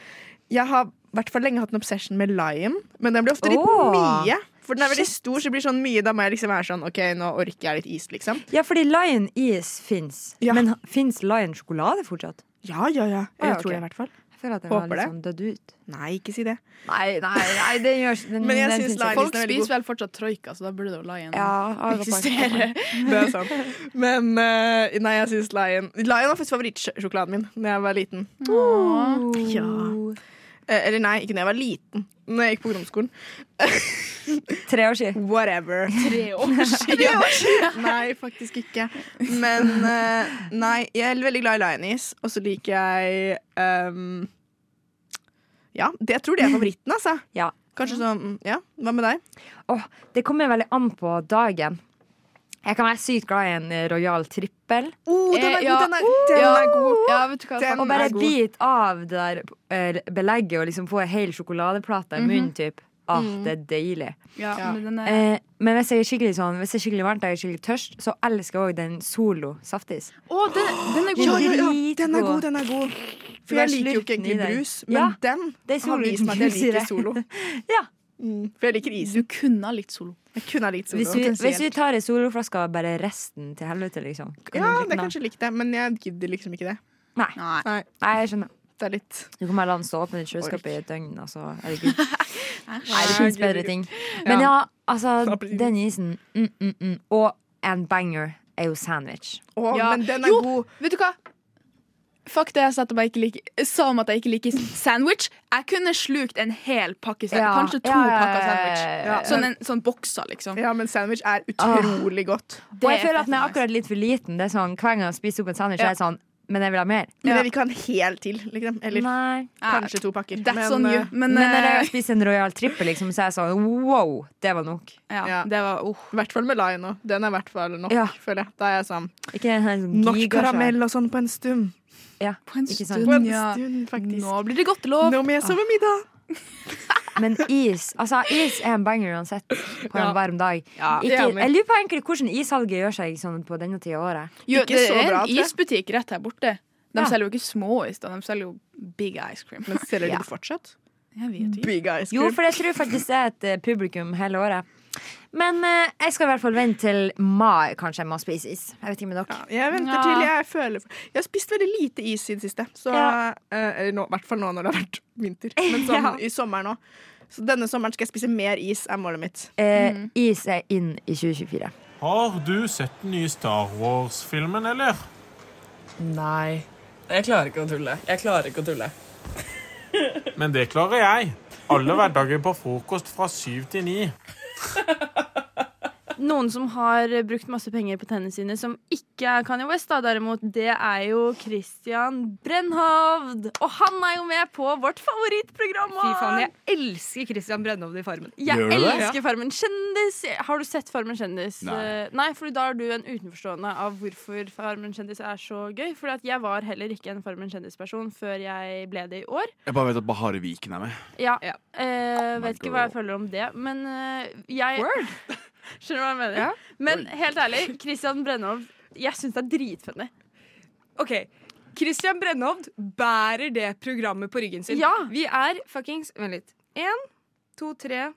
S14: Jeg har i hvert fall lenge hatt en obsession med lime, men den blir ofte litt
S15: Åh.
S14: mye. For den er veldig stor, så det blir sånn mye. Da må jeg liksom være sånn OK, nå orker jeg litt is, liksom.
S15: Ja, fordi Lion is fins. Men fins Lion sjokolade fortsatt?
S14: Ja, ja, ja.
S15: Ah, ja,
S14: Jeg tror
S15: ok.
S14: det, i hvert fall.
S15: Jeg føler at den var
S14: Håper
S15: litt
S14: det.
S15: sånn dødd ut.
S14: Nei, ikke si det.
S15: Nei, nei, nei den gjør den,
S14: Men jeg
S15: den
S14: synes
S15: finnes ikke.
S14: Lion-
S5: Folk
S14: Den er veldig
S5: spiser
S14: god.
S5: vel fortsatt troika, så da burde det jo la igjen
S15: Ja, jeg var faktisk-
S5: eksistere.
S14: Det er sant. Men eh, nei, jeg syns Lion Lion var faktisk favorittsjokoladen min da jeg var liten. Ja. Eh, eller nei, ikke da jeg var liten. Når jeg gikk på ungdomsskolen.
S15: Tre år siden.
S14: Whatever.
S5: Tre år siden.
S14: Tre år siden. Nei, faktisk ikke. Men eh, nei, jeg er veldig glad i Lionis, og så liker jeg ehm, Ja, det, jeg tror det er favoritten, altså.
S15: Ja.
S14: Kanskje sånn mm, Ja, hva med deg?
S15: Åh, det kommer veldig an på dagen. Jeg kan være sykt glad i en eh, Royal trippel.
S14: Oh, den er
S5: Eh,
S14: god!
S5: ja.
S14: Den er, den
S5: Ja.
S14: er god.
S15: Oh!
S5: Ja, vet du hva,
S14: Den
S15: og bare
S14: er god.
S15: bit av det der eh, belegget og liksom få ei hel sjokoladeplate i munnen,
S14: Mhm.
S15: typ. Ah,
S18: Mm.
S15: det er deilig.
S18: Ja, Ja. men den er-
S15: eh, men hvis jeg er skikkelig sånn Hvis jeg er skikkelig varmt og jeg er skikkelig tørst, så elsker jeg òg den Solo saftis.
S18: Å, den, den er god.
S14: Ja, ja, ja.
S15: Dritgod.
S14: Den er god, den er god. For
S15: Du
S14: jeg
S15: er
S14: liker jo ikke
S15: slurten i
S14: egentlig
S15: den.
S14: brus, men
S15: Ja,
S14: den
S15: det er
S14: har
S15: Solo
S14: vist
S15: uten
S14: meg at jeg
S15: brus i
S14: liker
S15: det.
S14: solo. Mm, for jeg liker isen.
S18: Du kunne ha likt solo.
S14: Jeg kunne ha likt solo.
S15: Hvis vi, hvis vi
S14: potensielt.
S15: tar ei soloflaske og bare resten til helvete, liksom. Kan du drikke
S14: ja, det er
S15: den av?
S14: kanskje likt det, men jeg gidder liksom ikke det.
S15: Nei.
S14: Nei.
S15: jeg skjønner.
S14: Det er litt
S15: Du kan bare la den stå åpen i kjøleskapet i et døgn, og så er det good. Nei, det fins bedre ting.
S18: Ja.
S15: Men ja, altså, den isen mm, mm, mm. Og en banger er jo sandwich.
S14: Å,
S18: Ja.
S14: men den er
S18: jo,
S14: god.
S18: vet du hva? Fuck det jeg sa, at jeg ikke liker, sa om at jeg ikke liker sandwich. Jeg kunne slukt en hel pakke sandwich.
S14: Ja,
S18: Kanskje to
S14: ja, ja, ja,
S18: pakker sandwich.
S14: ja, ja.
S18: Sånn, en, sånn bokser, liksom.
S14: Ja, men sandwich er utrolig godt.
S15: Og jeg føler at den er akkurat litt for liten. Det er sånn, Hver gang jeg spiser opp en sandwich,
S14: Ja.
S15: er jeg sånn Men jeg vil ha mer.
S14: Men jeg vil ikke ha en hel til, liksom. Eller
S15: Nei.
S14: kanskje to pakker.
S18: That's
S14: Men,
S18: on you.
S14: eh,
S15: Men, når jeg spiser en Royal Trippel, liksom, så er jeg sånn wow, det var nok.
S14: Ja. I hvert fall med lime òg. Den er i hvert fall nok,
S15: oh. Ja.
S14: føler jeg. Da er jeg sånn
S15: Ikke den her sånn
S14: Nok
S15: gigasvær.
S14: karamell og sånn på en stund.
S15: Ja,
S18: på en
S15: ikke
S14: På en
S15: sant?
S14: stund, faktisk.
S18: Nå blir det godtelov.
S14: Nå må jeg sove middag.
S15: Ah. Men is altså is er en banger uansett på en
S18: Ja.
S15: varm dag.
S18: Ja,
S15: Ikke,
S18: enig.
S15: jeg lurer på egentlig hvordan issalget gjør seg sånn på denne tida av året.
S18: Jo, det er en isbutikk rett her borte. De
S15: Ja.
S18: selger jo ikke små is, da. De selger jo big ice cream.
S14: Men selger de
S18: Ja.
S14: det fortsatt?
S18: Jeg vet ikke.
S14: Big ice
S15: Jo,
S14: cream.
S15: for jeg tror faktisk det er et eh, publikum hele året. Men eh, jeg skal i hvert fall vente til mai, kanskje, jeg må spise is. Jeg vet ikke med dere.
S14: Jeg venter til jeg føler Jeg har spist veldig lite is i det siste. Så,
S15: Ja.
S14: eh, eller nå, I hvert fall nå når det har vært vinter. Men sånn
S15: Ja.
S14: i sommeren òg. Så denne sommeren skal jeg spise mer is, er målet mitt. Mm.
S15: Eh, Is er inn i 2024.
S19: Har du sett den nye Star Wars-filmen, eller?
S3: Nei. Jeg klarer ikke å tulle. Jeg klarer ikke å tulle.
S19: Men det klarer jeg. Alle hverdager på frokost fra syv til ni.
S5: Noen som har eh, brukt masse penger på tennene sine, som ikke er Kanye West, da, derimot, det er jo Christian Brennhovd. Og han er jo med på vårt favorittprogram!
S20: Fy faen, jeg
S5: elsker Christian Brennhovd i Farmen.
S20: Gjør
S5: Jeg
S20: du det?
S5: elsker Farmen kjendis! Har du sett Farmen kjendis?
S20: Nei.
S5: Eh, Nei, for da er du en utenforstående av hvorfor Farmen kjendis er så gøy. For jeg var heller ikke en Farmen kjendis-person før jeg ble det i år.
S21: Jeg bare vet at Bahare Viken er med.
S5: Ja. Eh, vet ikke hva jeg føler om det, men eh, jeg Skjønner du hva jeg mener? Men helt ærlig, Christian Brennholt, jeg syns det er dritfunny.
S20: Ok, Christian Brennhovd bærer det programmet på ryggen sin.
S5: Ja.
S20: Vi er fuckings Vent litt. Én, to, tre,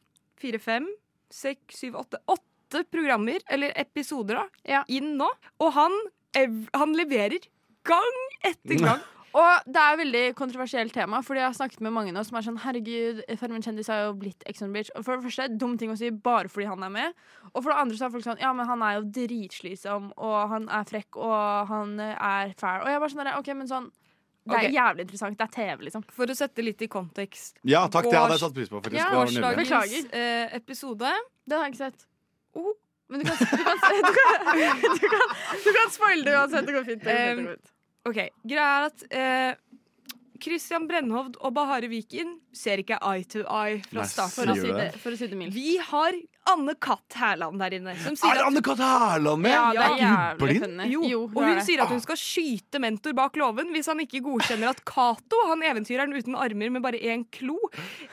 S20: fire, fem, seks, syv, åtte. Åtte programmer, eller episoder, da, inn nå. Og han, ev- han leverer gang etter gang.
S5: Og det er et veldig kontroversielt tema, Fordi jeg har snakket med mange nå som er sånn Herregud, Farmen kjendis har jo blitt Ex on the Beach. Og for det første, dum ting å si bare fordi han er med. Og for det andre så er folk sånn Ja, men han er jo dritslitsom, og han er frekk, og han er fæl. Og jeg er bare sånn der, OK, men sånn Det er
S20: Ok.
S5: jævlig interessant. Det er TV, liksom.
S20: For å sette litt i kontekst.
S21: Ja, takk, det hadde jeg
S20: Gårs-
S21: satt pris på, faktisk.
S20: Ja,
S21: Det var nydelig.
S20: Gårsdagens
S5: Beklager.
S20: eh, episode.
S5: Den har jeg ikke sett. Men du kan, du, kan, du, kan, du, kan, du kan spoile det uansett. Det går fint. Det går fint, det går fint.
S20: OK. Greia er at eh, Christian Brennhovd og Bahare Viken ser ikke eye to eye fra
S5: Nei,
S20: starten
S5: for å
S20: av.
S5: si det- for å si det mildt.
S20: Vi har Anne Katt Hærland der inne. Som
S21: Er Anne Katt Hærland med?
S20: Ja,
S21: Er hun
S20: jævlig
S21: blind?
S20: funny. Jo, og hun sier at hun skal skyte mentor bak låven hvis han ikke godkjenner at Cato, han eventyreren uten armer med bare én klo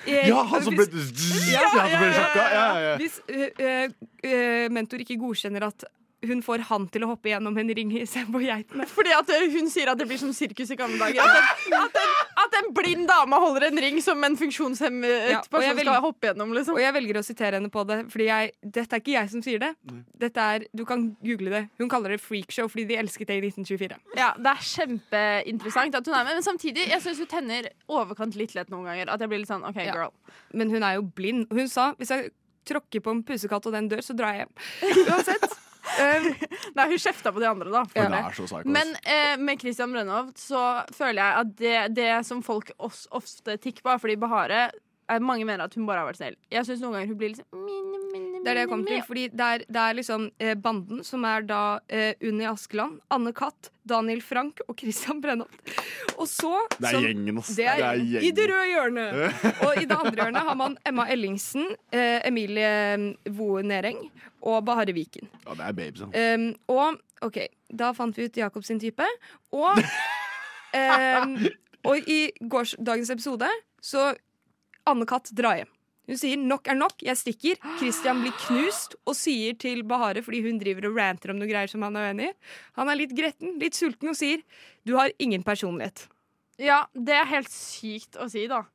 S20: eh,
S21: Ja, han som ble
S20: ja,
S21: Ja, han som ble
S20: ja,
S21: sjakka. Ja, ja, ja.
S20: Hvis eh, eh, mentor ikke godkjenner at hun får han til å hoppe gjennom en ring istedenfor geitene.
S5: Fordi at eh, hun sier at det blir som sirkus i gamle dager. At en, at en, at en blind dame holder en ring som en funksjonshemmet
S20: Ja, og jeg
S5: person
S20: vil-
S5: skal hoppe gjennom. Liksom.
S20: Og jeg velger å sitere henne på det, Fordi jeg, dette er ikke jeg som sier det. Dette er, Du kan google det. Hun kaller det freakshow fordi de elsket det i 1924.
S5: Ja, Det er kjempeinteressant at hun er med, men samtidig jeg synes hun tenner overkant litt lett noen ganger. At jeg blir litt sånn OK,
S20: Ja.
S5: girl.
S20: Men hun er jo blind. Hun sa hvis jeg tråkker på en pusekatt og den dør, så drar jeg hjem.
S5: Uansett. Nei, hun kjefta på de andre, da. for
S20: Hun
S5: det.
S20: er så psycho, ass.
S5: Men eh, med Christian Brennhoft så føler jeg at det, det som folk os- ofte tikker på, er fordi Bahare eh, mange mener at hun bare har vært snill. Jeg syns noen ganger hun blir litt sånn
S20: Det er det jeg kom til. Fordi det er, det er liksom eh, banden, som er da eh, Unni Askeland, Anne Katt, Daniel Frank og Christian Brennholt. Og så
S21: Det er
S20: som-
S21: gjengen, ass.
S20: sånn- Det er,
S21: Det er
S20: gjengen.
S21: gjengen.
S20: I det røde hjørnet. Og i det andre hjørnet har man Emma Ellingsen, eh, Emilie Voe Nereng og Bahare Viken.
S21: Ja, det er babes, han.
S20: Um, og OK, da fant vi ut Jakob sin type. Og, ehm, um, og i gårsdagens episode så Anne-Kat. drar hjem. Hun sier 'nok er nok, jeg stikker'. Christian blir knust og sier til Bahare, fordi hun driver og ranter om noen greier som han er uenig i Han er litt gretten, litt sulten og sier 'du har ingen personlighet'.
S5: Ja, det er helt sykt å si, da.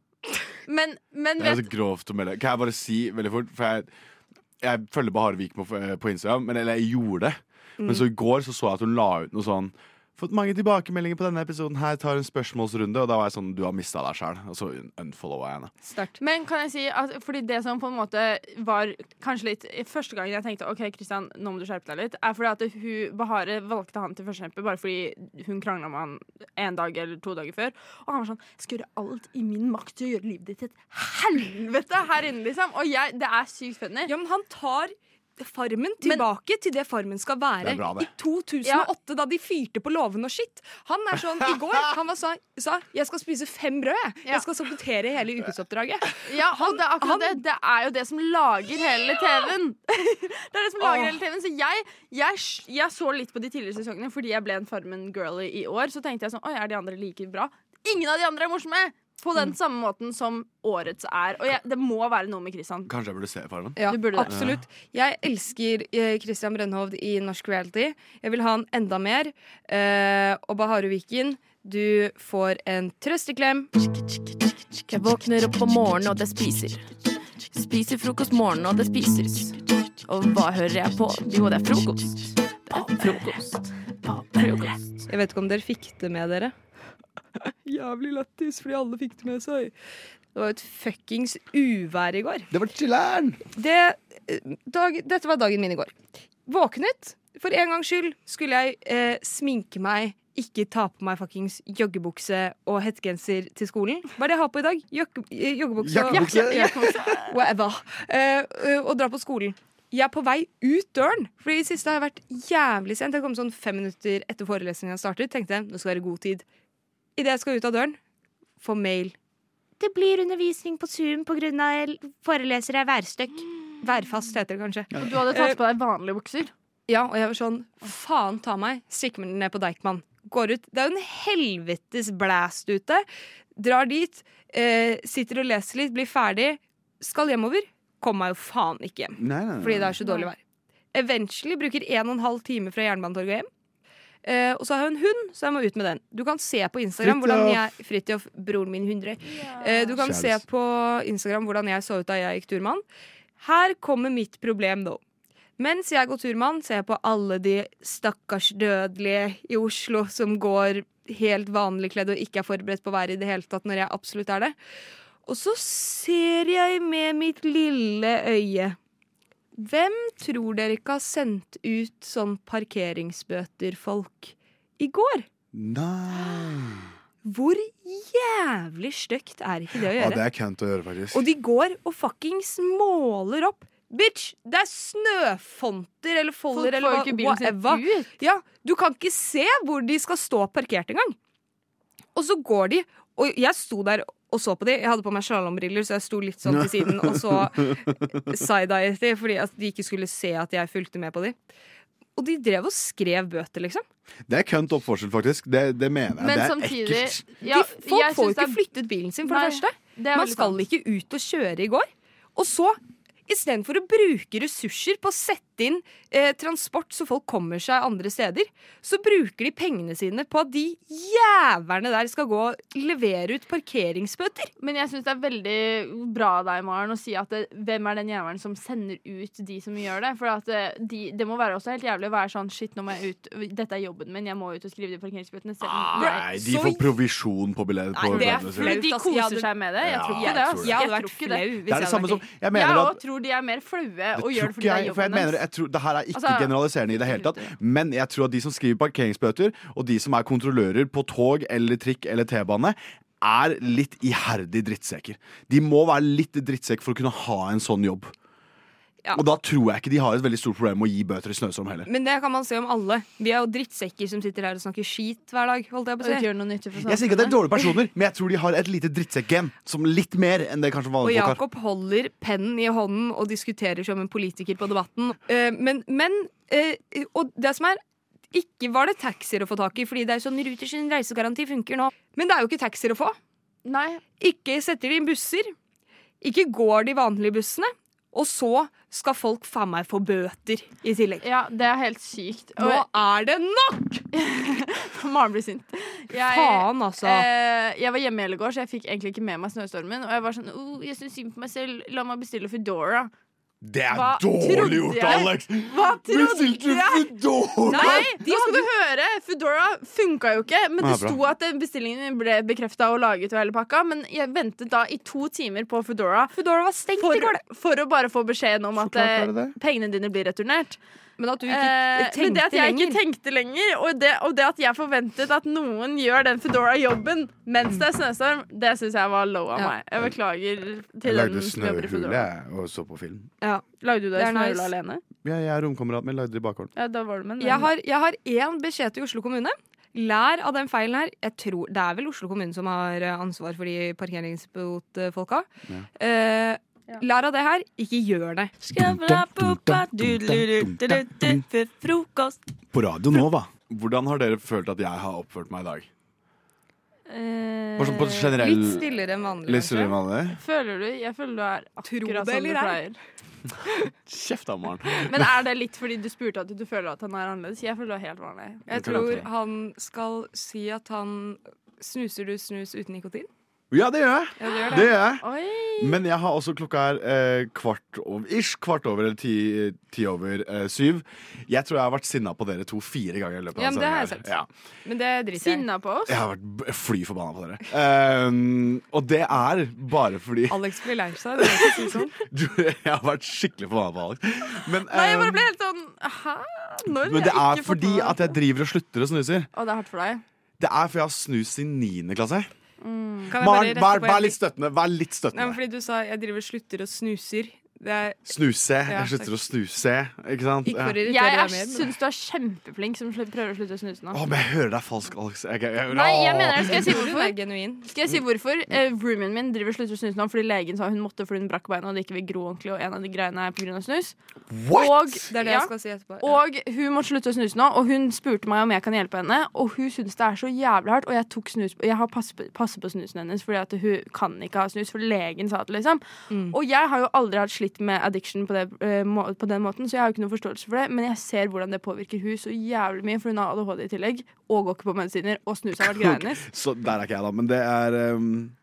S5: Men, men
S21: Det er
S5: vet
S21: så grovt å melde. Kan jeg bare si veldig fort? For jeg, jeg følger Bahare Vik på, eh, på Instagram, men, eller jeg gjorde det.
S5: Mm.
S21: Men så i går så, så jeg at hun la ut noe sånn Fått mange tilbakemeldinger på denne episoden. Her tar en spørsmålsrunde. Og da var jeg sånn Du har mista deg sjæl. Og så unfollowa jeg henne.
S5: Men kan jeg si at fordi det som på en måte var kanskje litt Første gangen jeg tenkte OK, Kristian, nå må du skjerpe deg litt, er fordi at hun, Bahare valgte han til førstekjemper bare fordi hun krangla med han en dag eller to dager før. Og han var sånn Jeg skal gjøre alt i min makt til å gjøre livet ditt til et helvete her inne, liksom. Og jeg Det er sykt funny.
S20: Ja, men han tar Farmen tilbake til det Farmen skal være.
S5: Det er bra, det.
S20: I 2008, da de fyrte på låven og skitt. Han er sånn i går. Han var sa, sa 'jeg skal spise fem brød', jeg. Jeg skal sabotere hele ukesoppdraget.
S5: Ja, og det er akkurat det. Det er jo det som lager hele TV-en. Det er det som lager
S20: Åh.
S5: hele TV-en. Så jeg, jeg, jeg så litt på de tidligere sesongene fordi jeg ble en Farmen-girly i år. Så tenkte jeg sånn Oi, er de andre like bra? Ingen av de andre er morsomme! På
S22: Mm.
S5: den samme måten som årets er. Og jeg, det må være noe med Kristian.
S21: Kanskje jeg burde se Eh, Farmen?
S20: Ja,
S5: Du burde det.
S20: absolutt. Jeg elsker eh, Christian Brønnhovd i norsk reality. Jeg vil ha han enda mer. Eh, og Baharu Viken, du får en trøsteklem.
S22: Jeg våkner opp om morgenen, og det spiser. Spiser frokost morgenen, og det spises. Og hva hører jeg på? Jo, det er frokost. På frokost. På frokost.
S20: Jeg vet ikke om dere fikk det med dere. Jævlig lættis, fordi alle fikk det med seg. Det var jo et fuckings uvær i går.
S21: Det var chiller'n!
S20: Det, dag, dette var dagen min i går. Våknet. For en gangs skyld skulle jeg eh, sminke meg, ikke ta på meg fuckings joggebukse og hettegenser til skolen. Hva er det jeg har på i dag? Jokke- eh, Joggebukse og
S21: Jakkebukse.
S20: Jakke- jakkebukse. Whatever. Eh, eh, og dra på skolen. Jeg er på vei ut døren, for i det siste har jeg vært jævlig sent. Jeg kom sånn fem minutter etter forelesningen startet. Tenkte jeg, nå skal det være god tid. Idet jeg skal ut av døren, få mail. Det blir undervisning på Zoom pga. forelesere er værstøkk. Værfast heter det kanskje. Eh,
S5: Og du hadde tatt på deg vanlige bukser?
S20: Ja, og jeg var sånn faen ta meg, stikker meg ned på Deichman. Går ut. Det er jo en helvetes blæst ute. Drar dit, eh, sitter og leser litt, blir ferdig. Skal hjemover. Kommer meg jo faen ikke hjem.
S21: Nei, nei, nei.
S20: Fordi det er så dårlig vær. Eventually bruker en og en halv time fra Jernbanetorget og hjem. Eh, og så har jeg en hund, så jeg må ut med den. Du kan se på Instagram hvordan jeg Fridtjof, broren min, hundre. Eh, du kan se
S21: Kjæreste.
S20: på Instagram hvordan jeg så ut da jeg gikk turmann. Her kommer mitt problem, nå. Mens jeg går turmann, ser jeg på alle de stakkars dødelige i Oslo som går helt vanlig kledd og ikke er forberedt på å være i det hele tatt når jeg absolutt er det. Og så ser jeg med mitt lille øye. Hvem tror dere ikke har sendt ut sånn parkeringsbøter-folk i går?
S21: Nei.
S20: Hvor jævlig stygt er ikke det å
S21: Ja,
S20: gjøre?
S21: det er kønt å gjøre, faktisk.
S20: Og de går og fuckings måler opp. Bitch, det er snøfonter eller folder
S5: Folk
S20: eller
S5: får jo ikke bilen sin
S20: whatever. Ja, du kan ikke se hvor de skal stå parkert engang. Og så går de, og jeg sto der og så på de. Jeg hadde på meg slalåmbriller, så jeg sto litt sånn til siden og så side-eyet de fordi at de ikke skulle se at jeg fulgte med på de. Og de drev og skrev bøter, liksom.
S21: Det er kønt oppførsel, faktisk. Det, det mener jeg.
S20: Men
S21: det er
S20: samtidig-
S21: ekkelt.
S20: De, folk
S5: jeg
S20: får jo
S5: synes
S20: ikke
S5: det er-
S20: flyttet bilen sin, for
S5: Nei,
S20: det første.
S5: det er
S20: Man
S5: veldig
S20: skal
S5: sant.
S20: ikke ut og kjøre i går. Og så, istedenfor å bruke ressurser på å sette inn eh, transport så folk kommer seg andre steder, så bruker de pengene sine på at de jævlene der skal gå og levere ut parkeringsbøter.
S5: Men jeg syns det er veldig bra av deg, Maren, å si at det, hvem er den jævelen som sender ut de som gjør det? For at eh, de, det må være også helt jævlig å være sånn shit, nå må jeg ut, dette er jobben min, jeg må ut og skrive de parkeringsbøtene. selv om-
S21: Ah, Nei, de får provisjon på billetter. på billettene sine.
S5: Men de koser seg med det. Jeg tror ikke det. ass.
S20: Jeg hadde
S5: Jeg
S20: vært
S5: tror ikke det.
S20: flau
S21: Det er det samme som Jeg mener
S5: jeg
S21: at
S5: også tror de er mer flaue og
S21: tror
S5: gjør det
S21: ikke
S5: fordi det er
S21: jeg, for jeg
S5: jobben
S21: mener,
S5: deres.
S21: jeg tror, det her er ikke
S5: Altså-
S21: generaliserende i det hele tatt, men jeg tror at de som skriver parkeringsbøter, og de som er kontrollører på tog eller trikk eller T-bane, er litt iherdig drittsekker. De må være litt drittsekk for å kunne ha en sånn jobb.
S20: Ja.
S21: Og da tror jeg ikke de har et veldig stort problem med å gi bøter i snøstorm heller.
S20: Men det kan man se om alle. Vi er jo drittsekker som sitter her og snakker skit hver dag. Holdt jeg på å si.
S5: Og ikke gjør noe nyttig for
S21: Jeg sier ikke at det er dårlige personer, men jeg tror de har et lite drittsekk-gen. Som litt mer enn det kanskje
S20: Og
S21: vanlige folk har.
S20: Jakob holder pennen i hånden og diskuterer som en politiker på debatten. Eh, men, men eh, Og det som er ikke var det taxier å få tak i, fordi det er sånn Ruters reisegaranti funker nå. Men det er jo ikke taxier å få.
S5: Nei.
S20: Ikke setter de inn busser. Ikke går de vanlige bussene, og så skal folk faen meg få bøter i tillegg.
S5: Ja, det er helt sykt.
S20: Nå er det nok!
S5: Maren blir sint. Jeg,
S20: Faen, altså.
S5: eh, jeg var hjemme i hele går, så jeg fikk egentlig ikke med meg snøstormen. Og jeg var sånn oh, Jeg syns synd på meg selv. La meg bestille Foodora.
S21: Det er
S5: Hva trodde
S21: dårlig gjort,
S5: jeg?
S21: Alex!
S5: Hva trodde
S21: Bestilte du
S5: jeg?
S21: Foodora?
S5: Nei, nå skal du høre! Foodora funka jo ikke. Men
S21: Nei,
S5: det
S21: bra.
S5: sto at eh, bestillingen min ble bekrefta og laget og hele pakka. Men jeg ventet da i to timer på Foodora.
S20: Foodora var stengt
S5: for, i går, For å bare få beskjeden om at
S20: klart
S5: eh,
S20: er det det.
S5: pengene dine blir returnert. Eh,
S20: Men at du ikke
S5: men det
S20: tenkte
S5: at jeg
S20: lenger.
S5: ikke tenkte lenger, og det, og det at jeg forventet at noen gjør den Foodora-jobben mens det er snøstorm, det syns jeg var low av meg. Jeg beklager
S21: Jeg
S5: til
S21: lagde
S5: den som jobber i
S21: snøhule
S5: Foodora.
S21: jeg, og så på film.
S5: Ja. Lagde du
S20: Det
S5: deg
S20: er
S5: snøhule
S20: nice.
S5: alene?
S21: Ja, jeg og romkameraten min lagde det i bakgården.
S5: Ja, da var du med en venn.
S20: Jeg har, jeg har én beskjed til Oslo kommune. Lær av den feilen her. Jeg tror, det er vel Oslo kommune som har eh, ansvar for de parkeringsbotfolka. Eh, lær av det her. Ikke gjør det.
S23: Frokost.
S21: På radio nå, hva? Hvordan har dere følt at jeg har oppført meg i dag? Bare sånn på generell
S20: Eh, Litt stillere enn vanlig.
S21: Litt stillere enn vanlig?
S5: Føler du, jeg føler du er
S20: det
S5: akkurat som du
S20: eller ei.
S5: pleier.
S21: Kjeft da, Maren.
S5: Men er det litt fordi du spurte at du føler at han er annerledes? Jeg føler du er helt vanlig.
S20: Jeg
S21: Det kan jeg
S20: tror han skal si at han Snuser du snus uten nikotin?
S21: Ja, det gjør jeg.
S20: Ja, det gjør det.
S21: det gjør jeg.
S20: Oi.
S21: Men jeg har også klokka er eh, kvart over, ish, kvart over eller ti, ti over eh, syv. Jeg tror jeg har vært sinna på dere to fire ganger i løpet av
S20: Ja, men det har jeg
S21: sendingen
S20: sett.
S21: her. Ja.
S20: Men det driter jeg i.
S5: Sinna på oss?
S21: Jeg har vært b- fly forbanna på dere. Ehm, og det er bare fordi
S20: Alex blir lei seg. Det er ikke si sånn.
S21: du, Jeg har vært skikkelig forbanna på Alex. Men,
S5: Nei, jeg
S21: ehm,
S5: bare ble helt sånn Hæ? Når?
S21: men det
S5: Jeg
S21: er
S5: ikke fått
S21: fordi
S5: med meg
S21: at jeg driver og slutter å snuse.
S5: Å, det er hardt for deg.
S21: Det er fordi jeg har snus i niende klasse.
S5: Mm.
S21: Maren, vær, vær litt støttende. Vær litt
S20: Nei, men
S21: støttende.
S20: fordi du sa 'jeg driver og slutter og snuser'. Det er
S21: Snuse.
S20: Ja,
S21: Jeg slutter å snuse. Ikke sant?
S20: Ikke for å irritere
S21: Ja.
S5: Jeg er,
S20: deg mer, men-
S5: syns du er kjempeflink som sl- prøver å slutte å snuse nå.
S21: Å, men jeg hører deg falsk, Alex. Jeg, jeg, jeg,
S5: Nei, jeg mener det. Skal jeg si
S20: Tror du
S5: hvorfor?
S20: det er genuin?
S5: Skal jeg si hvorfor? Eh, roomien min driver og slutter å snuse nå fordi legen sa hun måtte fordi hun brakk beina og det ikke vil gro ordentlig, og en av de greiene er pga. snus.
S20: What?
S5: Og,
S20: Det er det jeg skal si etterpå, ja.
S5: Og hun måtte slutte å snuse nå, og hun spurte meg om jeg kan hjelpe henne, og hun syns det er så jævlig hardt, og jeg tok snus Jeg har passet på, passet på snusen hennes fordi at hun kan ikke ha snus, for legen sa det, liksom.
S20: Mm.
S11: Mm.
S5: Og jeg har jo aldri hatt slitt med addiction på, det, eh, må, på den måten, så jeg har jo ikke noe forståelse for det, men jeg ser hvordan det påvirker hun så jævlig mye, for hun har ADHD i tillegg, og går ikke på medisiner, og snus har vært greia hennes.
S21: Så der er ikke jeg, da. Men det er um,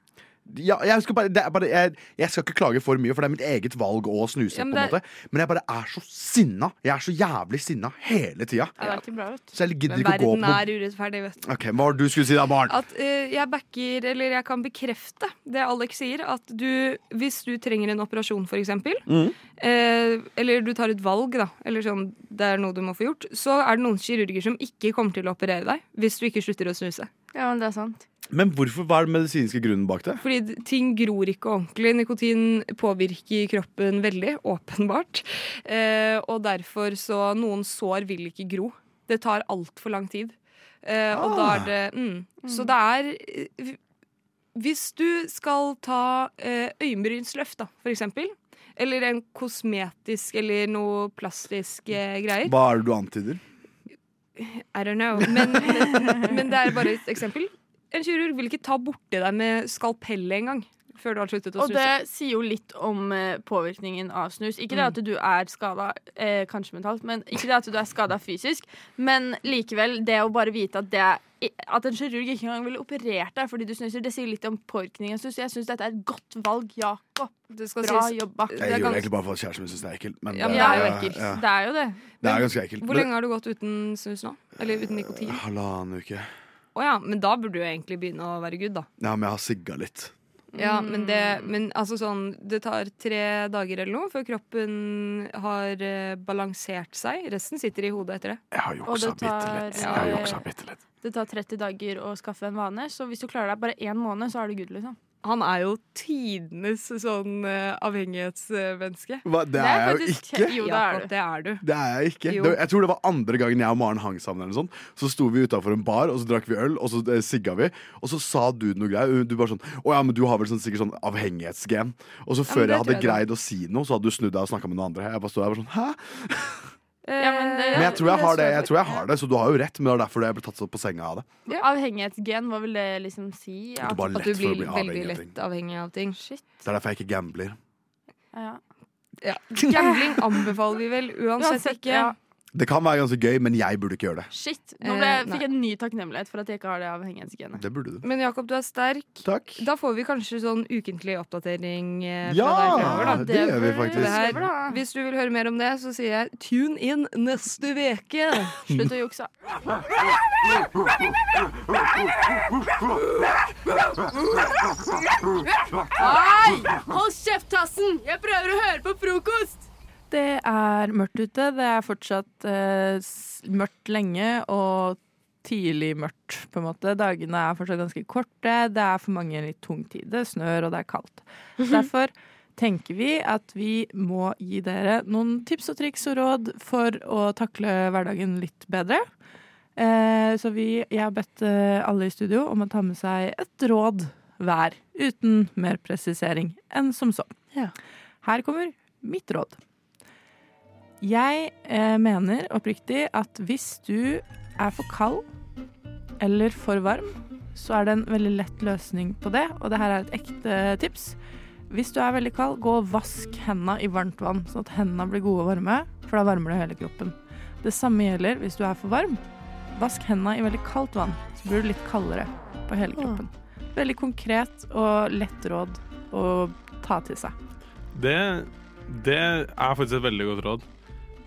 S21: ja, jeg, skal bare, det er bare, jeg, jeg skal ikke klage for mye, for det er mitt eget valg å snuse.
S5: Ja, men
S21: men, på en
S5: det er-
S21: måte. men jeg bare er så sinna. Jeg er så jævlig sinna hele tida.
S5: Ja, det er ikke bra, vet du.
S21: Så jeg gidder
S20: Men
S21: ikke å gå på
S20: verden
S21: noe.
S20: er urettferdig, vet du.
S21: Ok, Hva var det du skulle si da, Maren?
S20: At eh, jeg backer, eller jeg kan bekrefte det Alex sier, at du, hvis du trenger en operasjon, for eksempel,
S21: Mm.
S20: eh, eller du tar et valg, da, eller sånn, det er noe du må få gjort, så er det noen kirurger som ikke kommer til å operere deg hvis du ikke slutter å snuse.
S5: Ja, men det er sant.
S21: Men hvorfor, hva er den medisinske grunnen bak det?
S20: Fordi d- ting gror ikke ordentlig. Nikotin påvirker kroppen veldig, åpenbart. Eh, og derfor så Noen sår vil ikke gro. Det tar altfor lang tid. Eh, Og da er det mm. Så det er eh, v- Hvis du skal ta eh, øyenbrynsløft, da, for eksempel. Eller en kosmetisk eller noe plastisk eh, greier.
S21: Hva er det du antyder?
S20: I don't know. Men, men det er bare et eksempel. En kirurg vil ikke ta borti deg med skalpellet engang før du har sluttet å
S5: Og
S20: snuse.
S5: det sier jo litt om eh, påvirkningen av snus. Ikke det
S20: Mm.
S5: at du er skada, eh, kanskje mentalt, men ikke det at du er skada fysisk. Men likevel, det å bare vite at det er at en kirurg ikke engang ville operert deg fordi du snuser, det sier litt om påvirkningen av snus. Jeg syns dette er et godt valg, Jakob. Bra
S20: sies-
S5: jobba.
S21: Jeg gjør det egentlig bare for at kjæresten min syns det er ekkelt. Men
S5: Ja, men det
S21: eh,
S5: er jo ekkelt.
S21: ja.
S5: Det er jo det.
S21: Det er ganske ekkelt.
S20: Hvor lenge har du gått uten snus nå? Eller uten nikotin? Å
S21: Halvannen uke.
S20: ja, men da burde du jo egentlig begynne å være good, da.
S21: Ja, men jeg har sigga litt.
S20: Ja, men det, men altså sånn, det tar tre dager eller noe før kroppen har eh, balansert seg. Resten sitter i hodet etter det.
S21: Jeg har
S5: juksa Og det tar, bitte litt. Jeg har eh, juksa
S21: bitte litt.
S5: Det tar 30 dager å skaffe en vane, så hvis du klarer deg bare én måned, så er du good, liksom.
S20: Han er jo tidenes sånn eh, avhengighetsmenneske.
S21: Hva, det Det er er jeg jo faktisk- ikke.
S20: Jo,
S21: jo, det
S20: det
S21: er
S20: er du. Det er du.
S21: Det er jeg ikke.
S20: Jo.
S21: Det, jeg tror det var andre gangen jeg og Maren hang sammen. Eller sånn. Så sto vi utafor en bar, og så drakk vi øl, og så eh, sigga vi. Og så sa du noe greier. Du bare sånn Å ja, men du har vel sånn, sikkert sånn avhengighetsgen. Og så
S20: Ja,
S21: før
S20: men det
S21: jeg hadde
S20: tror jeg da.
S21: greid å si noe, så hadde du snudd deg og snakka med noen andre. Jeg bare stod der og var sånn Hæ?
S5: Eh,
S11: Ja, men det-
S21: Men jeg tror jeg har det, jeg tror jeg har det så du har jo rett. Men det er derfor jeg ble tatt så på senga av det.
S11: Ja. Avhengighetsgen, hva vil det liksom si?
S21: At du bare er lett
S11: at du
S21: for å
S11: blir
S21: bli
S11: veldig
S21: avhengig av
S11: lett avhengig av ting. Shit.
S21: Det er derfor jeg ikke gambler.
S11: Ja.
S20: Gambling anbefaler vi vel uansett, ikke.
S11: ja.
S21: Det kan være ganske gøy, men jeg burde ikke gjøre det.
S11: Shit. Nå ble,
S20: Eh,
S11: fikk jeg en ny takknemlighet for at jeg ikke har det avhengighetsgenet.
S21: Det burde du.
S20: Men Jakob, du er sterk. Da får vi kanskje sånn ukentlig oppdatering eh, fra
S21: Ja,
S20: deg fremover. Da.
S21: det gjør vi
S20: på
S21: faktisk.
S20: det her. Hvis du vil høre mer om det, så sier jeg tune in neste uke.
S11: Slutt å jukse.
S5: Hei! Hold kjeft, Tassen! Jeg prøver å høre på frokost!
S3: Det er mørkt ute. Det er fortsatt eh, s- mørkt lenge og tidlig mørkt, på en måte. Dagene er fortsatt ganske korte. Det er for mange litt tung tid. Det snør, og det er kaldt. Derfor tenker vi at vi må gi dere noen tips og triks og råd for å takle hverdagen litt bedre. Eh, så vi, jeg har bedt eh, alle i studio om å ta med seg et råd hver, uten mer presisering enn som så. Her kommer mitt råd. Jeg eh, mener oppriktig at hvis du er for kald eller for varm, så er det en veldig lett løsning på det, og det her er et ekte eh, tips. Hvis du er veldig kald, gå og vask hendene i varmt vann, sånn at hendene blir gode og varme, for da varmer det hele kroppen. Det samme gjelder hvis du er for varm. Vask hendene i veldig kaldt vann, så blir du litt kaldere på hele kroppen. Veldig konkret og lett råd å ta til seg.
S19: Det, det er faktisk et veldig godt råd.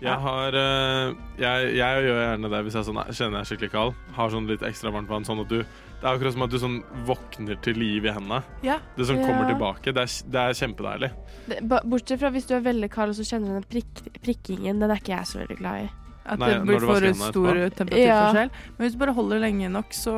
S19: Jeg har eh, jeg, jeg gjør gjerne det hvis jeg sånn, kjenner jeg er skikkelig kald. Har sånn litt ekstra varmt vann. Sånn at du Det er akkurat som at du sånn våkner til liv i hendene.
S5: Ja.
S19: Det som kommer
S5: Ja.
S19: tilbake. Det er, det er kjempedeilig.
S5: Det- ba- Bortsett fra hvis du er veldig kald og så kjenner du den prikk, prikkingen. Den er ikke jeg så veldig glad i.
S3: At
S19: Nei,
S3: det
S19: når du
S3: blir for
S19: vasker hendene
S3: stor
S19: etterpå.
S3: temperaturforskjell. Men hvis du bare holder lenge nok, så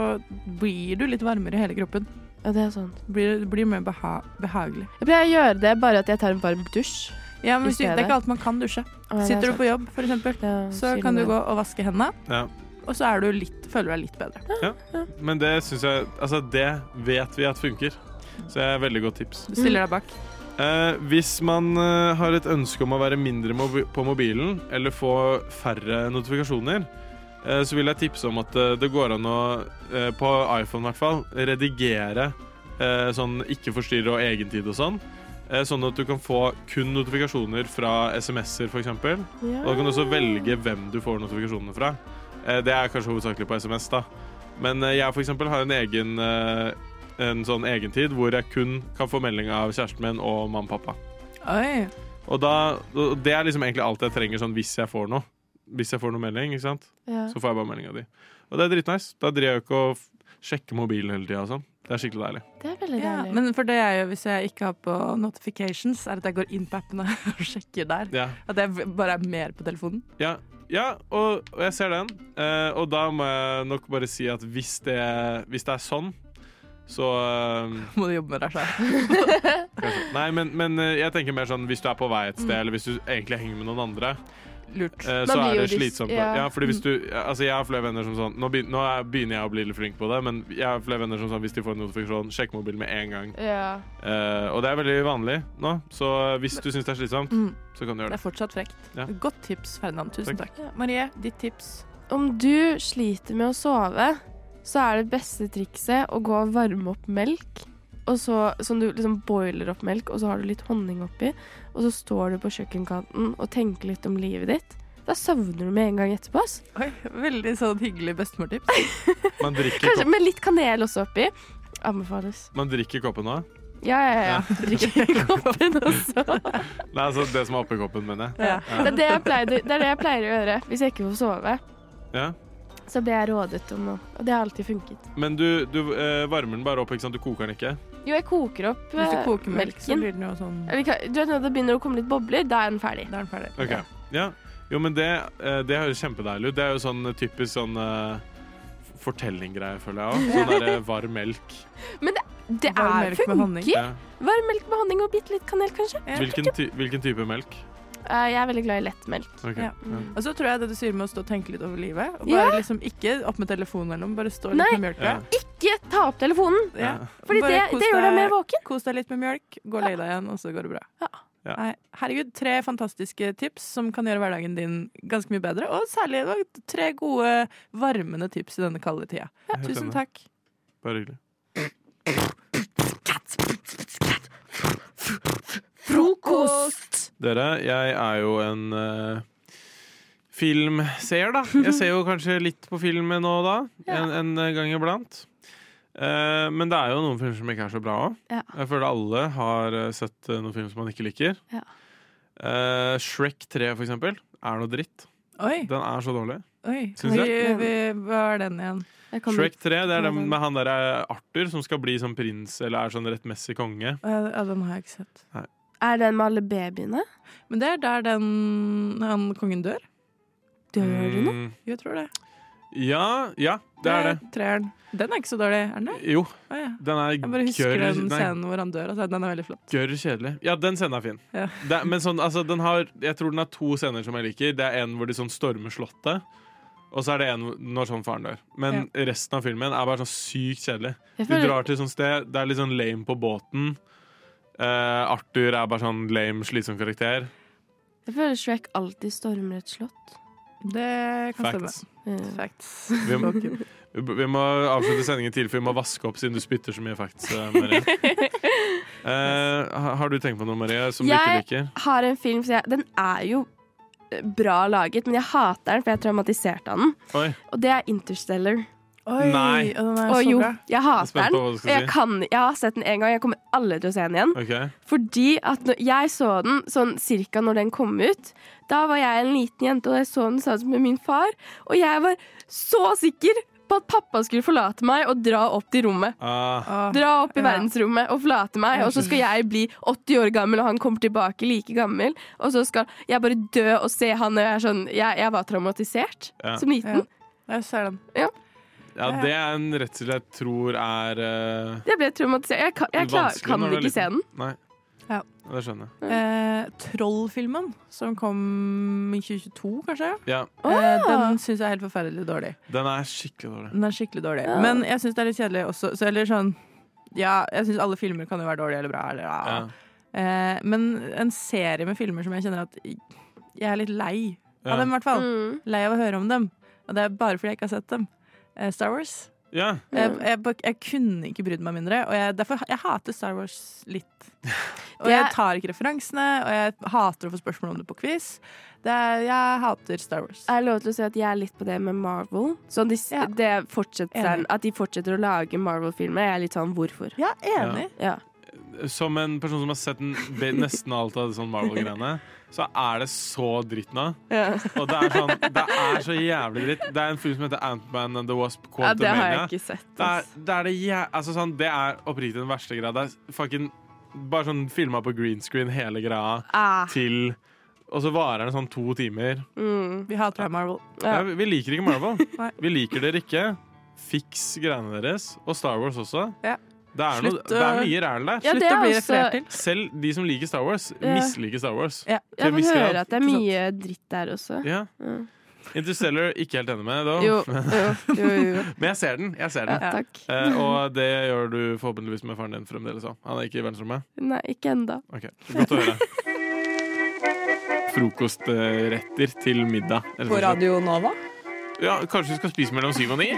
S3: blir du litt varmere i hele kroppen.
S5: Ja, det er sant.
S3: Blir, det blir mer beha behagelig.
S5: Jeg pleier å gjøre det, bare at jeg tar en varm dusj.
S3: Ja,
S5: i
S3: men hvis du, Det er
S5: stedet.
S3: ikke alt man kan dusje.
S5: Å, ja, det er
S3: Sitter du på
S5: sant.
S3: jobb, for eksempel, så
S5: sier
S3: kan
S5: du
S3: du
S5: det.
S3: gå og vaske hendene,
S19: Ja.
S3: og så er du litt, føler du deg litt bedre.
S19: Ja. Men det syns jeg Altså, det vet vi at funker. Så det er et veldig godt tips.
S3: Du stiller deg bak.
S19: Eh, hvis man eh, har et ønske om å være mindre mobi på mobilen eller få færre notifikasjoner, eh, så vil jeg tipse om at eh, det går an å, eh, på iPhone i hvert fall, redigere eh, sånn ikke forstyrre og egentid og sånn. Eh, sånn at du kan få kun notifikasjoner fra SMS-er, f.eks. eksempel Og da kan du også velge hvem du får notifikasjonene fra. Eh, det er kanskje hovedsakelig på SMS, da. Men eh, jeg for eksempel har en egen eh, en sånn egentid hvor jeg kun kan få melding av kjæresten min og mamma og pappa.
S3: Oi.
S19: Og da, og det er liksom egentlig alt jeg trenger sånn hvis jeg får noe. Hvis jeg får noe melding, ikke sant?
S5: Ja.
S19: så får jeg bare melding av de. Og det er dritnice. Da driver jeg jo ikke og f- sjekker mobilen hele tida og sånn. Det er skikkelig deilig.
S5: Det er veldig
S3: Ja,
S5: deilig.
S3: men for det jeg gjør hvis jeg ikke har på notifications, er at jeg går inn på appene og sjekker der.
S19: Ja.
S3: At jeg bare er mer på telefonen.
S19: Ja, ja og, og jeg ser den. Eh, og da må jeg nok bare si at hvis det, hvis det er sånn, så eh,
S3: Må du jobbe med deg sjøl.
S19: Nei, men, men eh, jeg tenker mer sånn hvis du er på vei et sted,
S3: Mm.
S19: eller hvis du egentlig henger med noen andre.
S3: Lurt.
S19: eh,
S3: Da
S19: Så
S3: blir
S19: er
S3: jo
S19: det
S3: dis-
S19: slitsomt.
S3: ja. Mm.
S19: Ja. fordi hvis du, altså jeg har flere venner som sånn Nå begyn- nå er- begynner jeg å bli litt flink på det, men jeg har flere venner som sånn hvis de får en notifikasjon, sjekk mobilen med en gang.
S5: Ja.
S19: Eh, og det er veldig vanlig nå, så hvis du syns det er slitsomt,
S3: Mm.
S19: så kan du
S3: Det
S19: gjøre
S3: er
S19: det.
S3: fortsatt frekt.
S19: Ja.
S3: Godt tips, Ferdinand. Tusen takk.
S19: Takk.
S3: Marie, ditt tips?
S5: Om du sliter med å sove, så er det beste trikset å gå og varme opp melk. Og så, sånn du liksom boiler opp melk, og så har du litt honning oppi. Og så står du på kjøkkenkanten og tenker litt om livet ditt. Da sovner du med en gang etterpå. ass.
S3: Oi, veldig sånn hyggelig bestemortips.
S19: Man drikker,
S5: Kanskje
S19: kopp,
S5: med litt kanel også oppi. Anbefales.
S19: man drikker koppen nå?
S5: Ja, ja, ja. Drikker koppen også.
S19: Nei, altså det som er oppi koppen, mener jeg.
S5: Ja. Det, er det, jeg pleide, det er det jeg pleier å gjøre hvis jeg ikke får sove.
S19: Ja.
S5: Så ble jeg rådet om å Og det har alltid funket.
S19: Men du, du eh, varmer den bare opp, ikke sant? Du koker den ikke?
S5: Jo, jeg koker opp
S3: Hvis du
S5: eh,
S3: koker melk, så
S5: melken.
S3: blir den jo sånn
S5: Eller, ka- du vet når det begynner å komme litt bobler, da er den ferdig.
S19: Ok, ja. Jo, men det, eh, det høres kjempedeilig ut. Det er jo sånn typisk sånn eh, fortellinggreie, føler jeg òg. Sånn der eh, varm melk.
S5: Men det, det
S3: Varm
S5: er
S3: melk med honning.
S5: funker!
S19: Ja.
S5: Varm melk med honning og bitte litt kanel, kanskje.
S19: Hvilken, ty hvilken type melk?
S5: Eh, jeg er veldig glad i lettmelk.
S19: Ok,
S3: Ja.
S19: ja.
S3: Og så tror jeg det du sier med å stå og tenke litt over livet og
S5: Ja.
S3: bare liksom Ikke opp med telefonen eller noe, bare stå litt
S5: Nei,
S3: med mjølka.
S5: ikke ta opp telefonen!
S3: Ja.
S5: Fordi
S3: Bare
S5: det,
S3: kos
S5: det gjør deg mer våken.
S3: Kos deg litt med mjølk, gå og legg deg igjen, og så går det bra.
S19: Ja.
S3: Nei, herregud, tre fantastiske tips som kan gjøre hverdagen din ganske mye bedre. Og særlig det var tre gode, varmende tips i denne kalde tida.
S19: Jeg er helt
S3: Tusen
S19: enig.
S3: takk.
S19: Bare hyggelig.
S3: Frokost!
S19: Dere, jeg er jo en eh, filmseer, da. Jeg ser jo kanskje litt på film nå og da, en, en gang iblant. Eh, men det er jo noen filmer som ikke er så bra òg.
S24: Ja.
S19: Jeg føler alle har eh, sett eh, noen film som man ikke liker.
S24: Ja.
S19: Eh, Shrek 3, for eksempel, er noe dritt.
S3: Oi.
S19: Den er så dårlig.
S3: Oi,
S19: Syns
S3: vi,
S19: jeg.
S3: vi, hva er den igjen?
S19: Shrek 3, det er den med han der eh, Arthur som skal bli sånn prins, eller er sånn rettmessig konge.
S3: Ja, den har jeg ikke sett.
S19: Nei.
S3: Er den med alle babyene? Men det er der den han kongen dør. Dør
S19: Mm.
S3: nå? Jo, jeg tror det.
S19: Ja, ja, det er det.
S3: Treeren. Den er ikke så dårlig, er den det?
S19: Jo.
S3: Å, ja.
S19: Den er
S3: Jeg bare husker
S19: gørr-
S3: den
S19: nei,
S3: scenen hvor han dør. Altså, den er veldig flott.
S19: Gørr kjedelig. Ja, den scenen er fin.
S3: Ja.
S19: Det, er- men sånn, altså, den har, jeg tror den har to scener som jeg liker. Det er en hvor de sånn stormer slottet, og så er det en hvor- når sånn faren dør. Men resten av filmen er bare sånn sykt kjedelig.
S5: Jeg
S19: Du
S5: føler-
S19: drar til sånn sted, det er litt sånn lame på båten. Eh, Arthur er bare sånn lame, slitsom karakter.
S5: Jeg føler Shrek alltid stormer et slott.
S3: Det
S19: kan Facts.
S3: Facts.
S19: Vi, vi må avslutte sendingen tidlig, for vi må vaske opp siden du spytter så mye facts, eh, Marie. Eh, ha- har du tenkt på noe, Marie, som
S5: jeg
S19: du ikke liker?
S5: har en film som jeg Den er jo eh, bra laget, men jeg hater den, for jeg er traumatisert av den.
S19: Oi.
S5: Og det er Interstellar.
S19: Oi, Nei. og den er
S5: Og
S19: så
S5: jo,
S19: bra.
S5: jeg
S19: Jeg er
S5: hater
S19: spent
S5: den.
S19: på hva du
S5: Og
S19: skal
S5: jeg,
S19: si.
S5: kan, jeg har sett den én gang, jeg kommer aldri til å se den igjen.
S19: Ok.
S5: Fordi at når jeg så den sånn cirka når den kom ut, da var jeg en liten jente, og jeg så den sammen med min far, og jeg var så sikker på at pappa skulle forlate meg og dra opp til rommet.
S19: Ah.
S5: Dra opp i verdensrommet og forlate meg, og så skal jeg bli 80 år gammel, og han kommer tilbake like gammel, og så skal jeg bare dø og se han, og jeg er sånn Jeg, jeg var traumatisert
S19: Ja.
S5: som liten.
S3: Jeg ser den.
S5: Ja.
S19: Ja, det er en redsel jeg tror er eh,
S5: Jeg ble traumatisert. Jeg kan, jeg klar,
S19: vanskelig
S5: kan
S19: når du er
S5: ikke se
S19: liten.
S5: den.
S19: Nei,
S3: Ja.
S19: det skjønner jeg.
S3: Eh, Trollfilmen, som kom i 2022, kanskje?
S19: Ja,
S3: Eh,
S5: Ah.
S3: den syns jeg er helt forferdelig dårlig.
S19: den er skikkelig dårlig.
S3: Den er skikkelig dårlig.
S19: Ja.
S3: Men jeg syns det er litt kjedelig også. Så, eller sånn Ja, jeg syns alle filmer kan jo være dårlige eller bra. Eller, ja. Eh, men en serie med filmer som jeg kjenner at jeg er litt lei
S19: Ja.
S3: av dem, i hvert fall.
S19: Mm.
S3: Lei av å høre om dem. Og det er bare fordi jeg ikke har sett dem. Eh, Star Wars.
S19: Ja.
S3: Jeg, jeg, bare- jeg kunne ikke brydd meg mindre, og jeg, derfor jeg hater Star Wars litt. Og
S5: Det er-
S3: jeg tar ikke referansene, og jeg hater å få spørsmål om det på quiz. Det er, jeg hater Star Wars.
S5: Er det lov til å si at jeg er litt på det med Marvel? Sånn de, det fortsetter,
S3: Enig.
S5: at de fortsetter å lage Marvel-filmer. Jeg er litt sånn hvorfor?
S3: Ja,
S19: enig.
S5: Ja.
S19: Som en person som har sett n- be- nesten alt av det sånn Marvel-greiene, så er det så dritt nå.
S5: Ja.
S19: Og det er sånn, det er så jævlig dritt. Det er en film som heter Ant-Man and the Wasp
S5: Ja, det har jeg
S19: Quantumania.
S5: ikke sett,
S19: Det er, det, er det, jæ altså, sånn, det er oppriktig den verste greia. Det er fucking bare sånn filma på green screen hele greia
S5: Ah.
S19: til Og så varer den sånn to timer. Mm.
S3: Vi hater Marvel.
S19: Ja. vi- vi liker ikke Marvel.
S3: Nei.
S19: vi liker dere ikke. Fiks greiene deres. Og Star Wars også.
S3: Ja.
S19: Det er, noe,
S3: Slutt,
S19: det er
S3: øh,
S19: mye ræl der.
S5: Ja, Slutt det å er bli også- referert til.
S19: Selv de som liker Star Wars,
S5: Ja.
S19: misliker Star Wars. Til en
S5: Jeg
S19: viss
S5: får
S19: grad.
S5: høre at det er mye dritt der også.
S19: Ja.
S5: Mm.
S19: Interstellar, ikke helt enig med. Da.
S5: Jo, jo, jo, jo.
S19: Men jeg ser den. Jeg ser den.
S5: Ja, takk.
S19: Eh, og det gjør du forhåpentligvis med faren din fremdeles òg. Han er ikke i verdensrommet?
S5: Nei, ikke ennå.
S19: Ok, Godt å høre. Frokostretter til middag. rett og
S20: På
S19: slett.
S20: Radio Nova?
S19: Ja, Kanskje vi skal spise mellom syv og ni?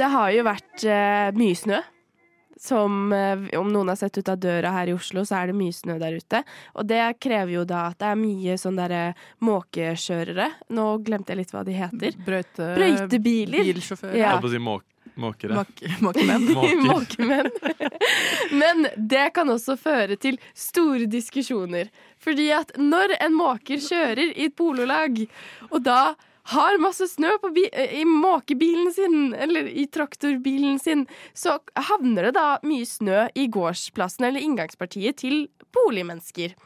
S5: Det har jo vært eh, mye snø. Som eh, om noen har sett ut av døra her i Oslo, så er det mye snø der ute. Og det krever jo da at det er mye sånn derre måkekjørere. Nå glemte jeg litt hva de heter.
S3: Brøyte,
S5: Brøytebiler.
S3: Bilsjåfører.
S19: Jeg
S5: Ja.
S19: holdt på å si måk måkere.
S3: Måkemenn.
S19: Måker.
S5: Måkemenn. Men det kan også føre til store diskusjoner. Fordi at når en måker kjører i et pololag, og da har masse snø på bi eh, i måkebilen sin, eller i traktorbilen sin, så havner det da mye snø i gårdsplassen eller inngangspartiet til boligmennesker.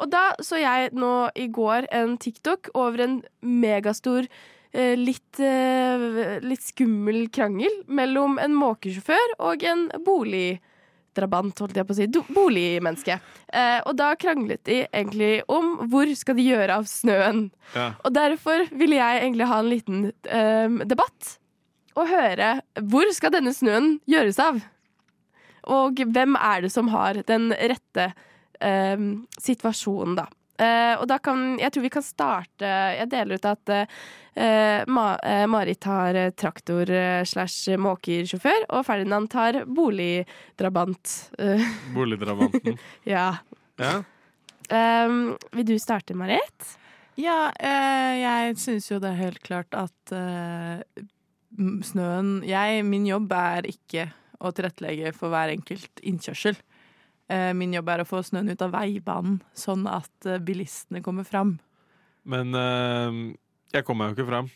S5: Og da så jeg nå i går en TikTok over en megastor eh, litt, eh, litt skummel krangel mellom en måkesjåfør og en boligdrabant, holdt jeg på å si. Do- Boligmenneske. Eh, og da kranglet de egentlig om hvor skal de gjøre av snøen.
S19: Ja.
S5: Og derfor ville jeg egentlig ha en liten eh, debatt og høre hvor skal denne snøen gjøres av? Og hvem er det som har den rette eh, eh, situasjonen, da. Eh, og da kan Jeg tror vi kan starte Jeg deler ut at eh, Ma, eh, Marit har eh, traktor eh, slash måkersjåfør, og Ferdinand tar boligdrabant. Eh,
S19: Boligdrabanten.
S5: ja.
S19: Ja.
S5: Eh, vil du starte, Marit?
S3: Ja, eh, jeg syns jo det er helt klart at eh, m- snøen jeg, Min jobb er ikke å tilrettelegge for hver enkelt innkjørsel. Eh, min jobb er å få snøen ut av veibanen, sånn at eh, bilistene kommer fram.
S19: Men eh, jeg kommer meg jo ikke fram.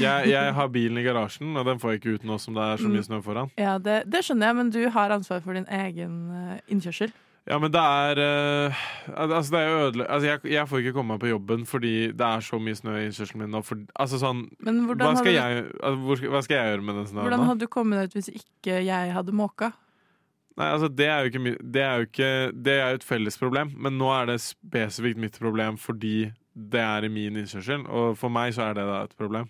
S19: Jeg, jeg har bilen i garasjen, og den får jeg ikke ut nå som det er så
S3: Mm.
S19: mye snø foran.
S3: Ja, det, det skjønner jeg, men du har ansvar for din egen eh, innkjørsel.
S19: Ja, men det er eh, al- Altså, det er jo ødele... Altså, jeg, jeg får ikke komme meg på jobben fordi det er så mye snø i innkjørselen min nå. For, altså sånn
S3: Men hvordan
S19: hva
S3: hadde
S19: skal,
S3: du-
S19: jeg, altså, hvor, skal- hva skal jeg gjøre med den snøen
S3: Hvordan
S19: nå?
S3: hadde du kommet deg ut hvis ikke jeg hadde måka?
S19: Nei, altså, det er jo ikke mi- Det er jo ikke Det er jo et felles problem, men nå er det spesifikt mitt problem fordi det er i min innkjørsel, og for meg så er det da et problem.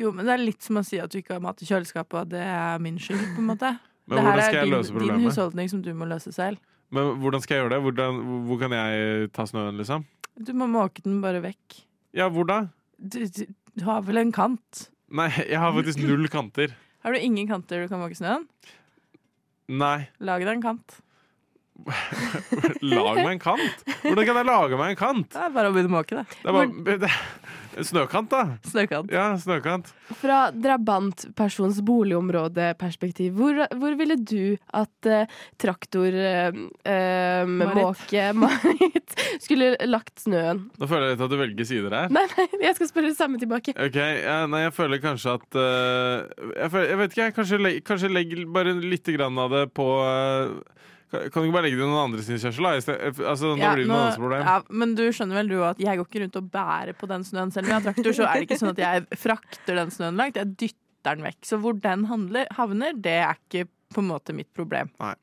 S3: Jo, men det er litt som å si at du ikke har mat i kjøleskapet, og det er min skyld, på en måte.
S19: Men
S3: det her
S19: hvordan
S3: er
S19: skal jeg
S3: din,
S19: løse
S3: din
S19: problemet?
S3: husholdning som du må løse selv.
S19: Men hvordan skal jeg gjøre det? Hvordan, hvor kan jeg ta snøen, liksom?
S3: Du må måke den bare vekk.
S19: Ja, hvor da?
S3: Du, du, du har vel en kant?
S19: Nei, jeg har faktisk null kanter.
S3: Har du ingen kanter du kan måke snøen?
S19: Nei.
S3: Lag deg en kant.
S19: Lag meg en kant! Hvordan kan jeg lage meg en kant? Det
S3: er bare å begynne å måke,
S19: det. er bare, det snøkant, da.
S3: Snøkant.
S19: Ja, snøkant.
S5: Fra drabantpersons boligområdeperspektiv, hvor, hvor ville du at eh, traktor eh, eh, måke Marit skulle lagt snøen?
S19: Nå føler jeg litt at du velger sider her.
S5: Nei, nei, jeg skal spørre det samme tilbake.
S19: Ok, ja, nei, jeg føler kanskje at eh, jeg, føler, jeg vet ikke, jeg. Kanskje, legg, kanskje legg bare litt grann av det på eh, kan, kan du ikke bare legge det i noen andres innkjørsel, da? I sted- Altså, nå
S3: Ja,
S19: blir det noen andres problem.
S3: ja, men du skjønner vel du at jeg går ikke rundt og bærer på den snøen. Selv om jeg har traktor, så er det ikke sånn at jeg frakter den snøen langt. Jeg dytter den vekk. Så hvor den handler, havner, det er ikke på en måte mitt problem.
S19: Nei.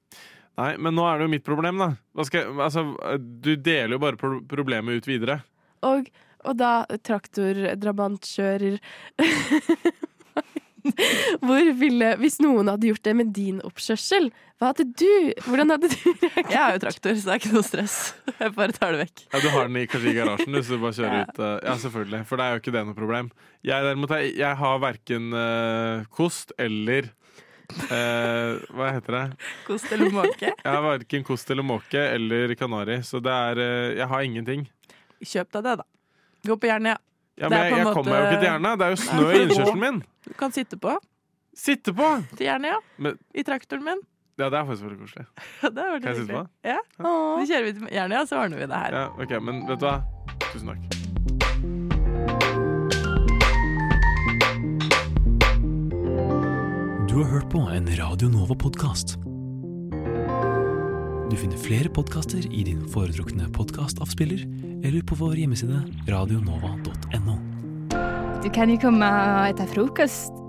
S19: Nei, men nå er det jo mitt problem, da. Hva skal, jeg- altså, du deler jo bare pro problemet ut videre.
S5: Og, og da traktordrabantkjører Hvor ville Hvis noen hadde gjort det med din oppkjørsel, hva hadde du Hvordan hadde du reagert?
S3: Jeg har jo traktor, så det er ikke noe stress. Jeg bare tar det vekk.
S19: Ja, Du har den i, kanskje i garasjen, du, så du bare kjører ut. eh, Ja, selvfølgelig, for det er jo ikke det noe problem. Jeg derimot, jeg, jeg har verken eh, kost eller eh, Hva heter det?
S3: Kost eller måke?
S19: Jeg har verken kost eller måke eller kanari, så det er eh, Jeg har ingenting.
S3: Kjøp deg det, da. Gå på Jernia.
S19: Ja, men
S3: Det er på
S19: jeg,
S3: en
S19: jeg
S3: måte-
S19: kommer meg jo ikke til Jernia. Det er jo snø i innkjørselen min.
S3: Du kan sitte på.
S19: Sitte på?
S3: Til Jernia.
S19: Men,
S3: I traktoren min.
S19: ja, det er faktisk veldig koselig.
S3: Ja, det er veldig
S19: Kan jeg sitte
S3: hyggelig.
S19: på?
S3: Ja. Så kjører vi til Jernia, så ordner vi det her.
S19: Ja, ok, Men vet du hva? Tusen takk.
S1: Du har hørt på en Radio Nova-podkast. Du finner flere podkaster i din foretrukne podkastavspiller eller på vår hjemmeside radionova.no.
S10: Du kan jo komme og ete frokost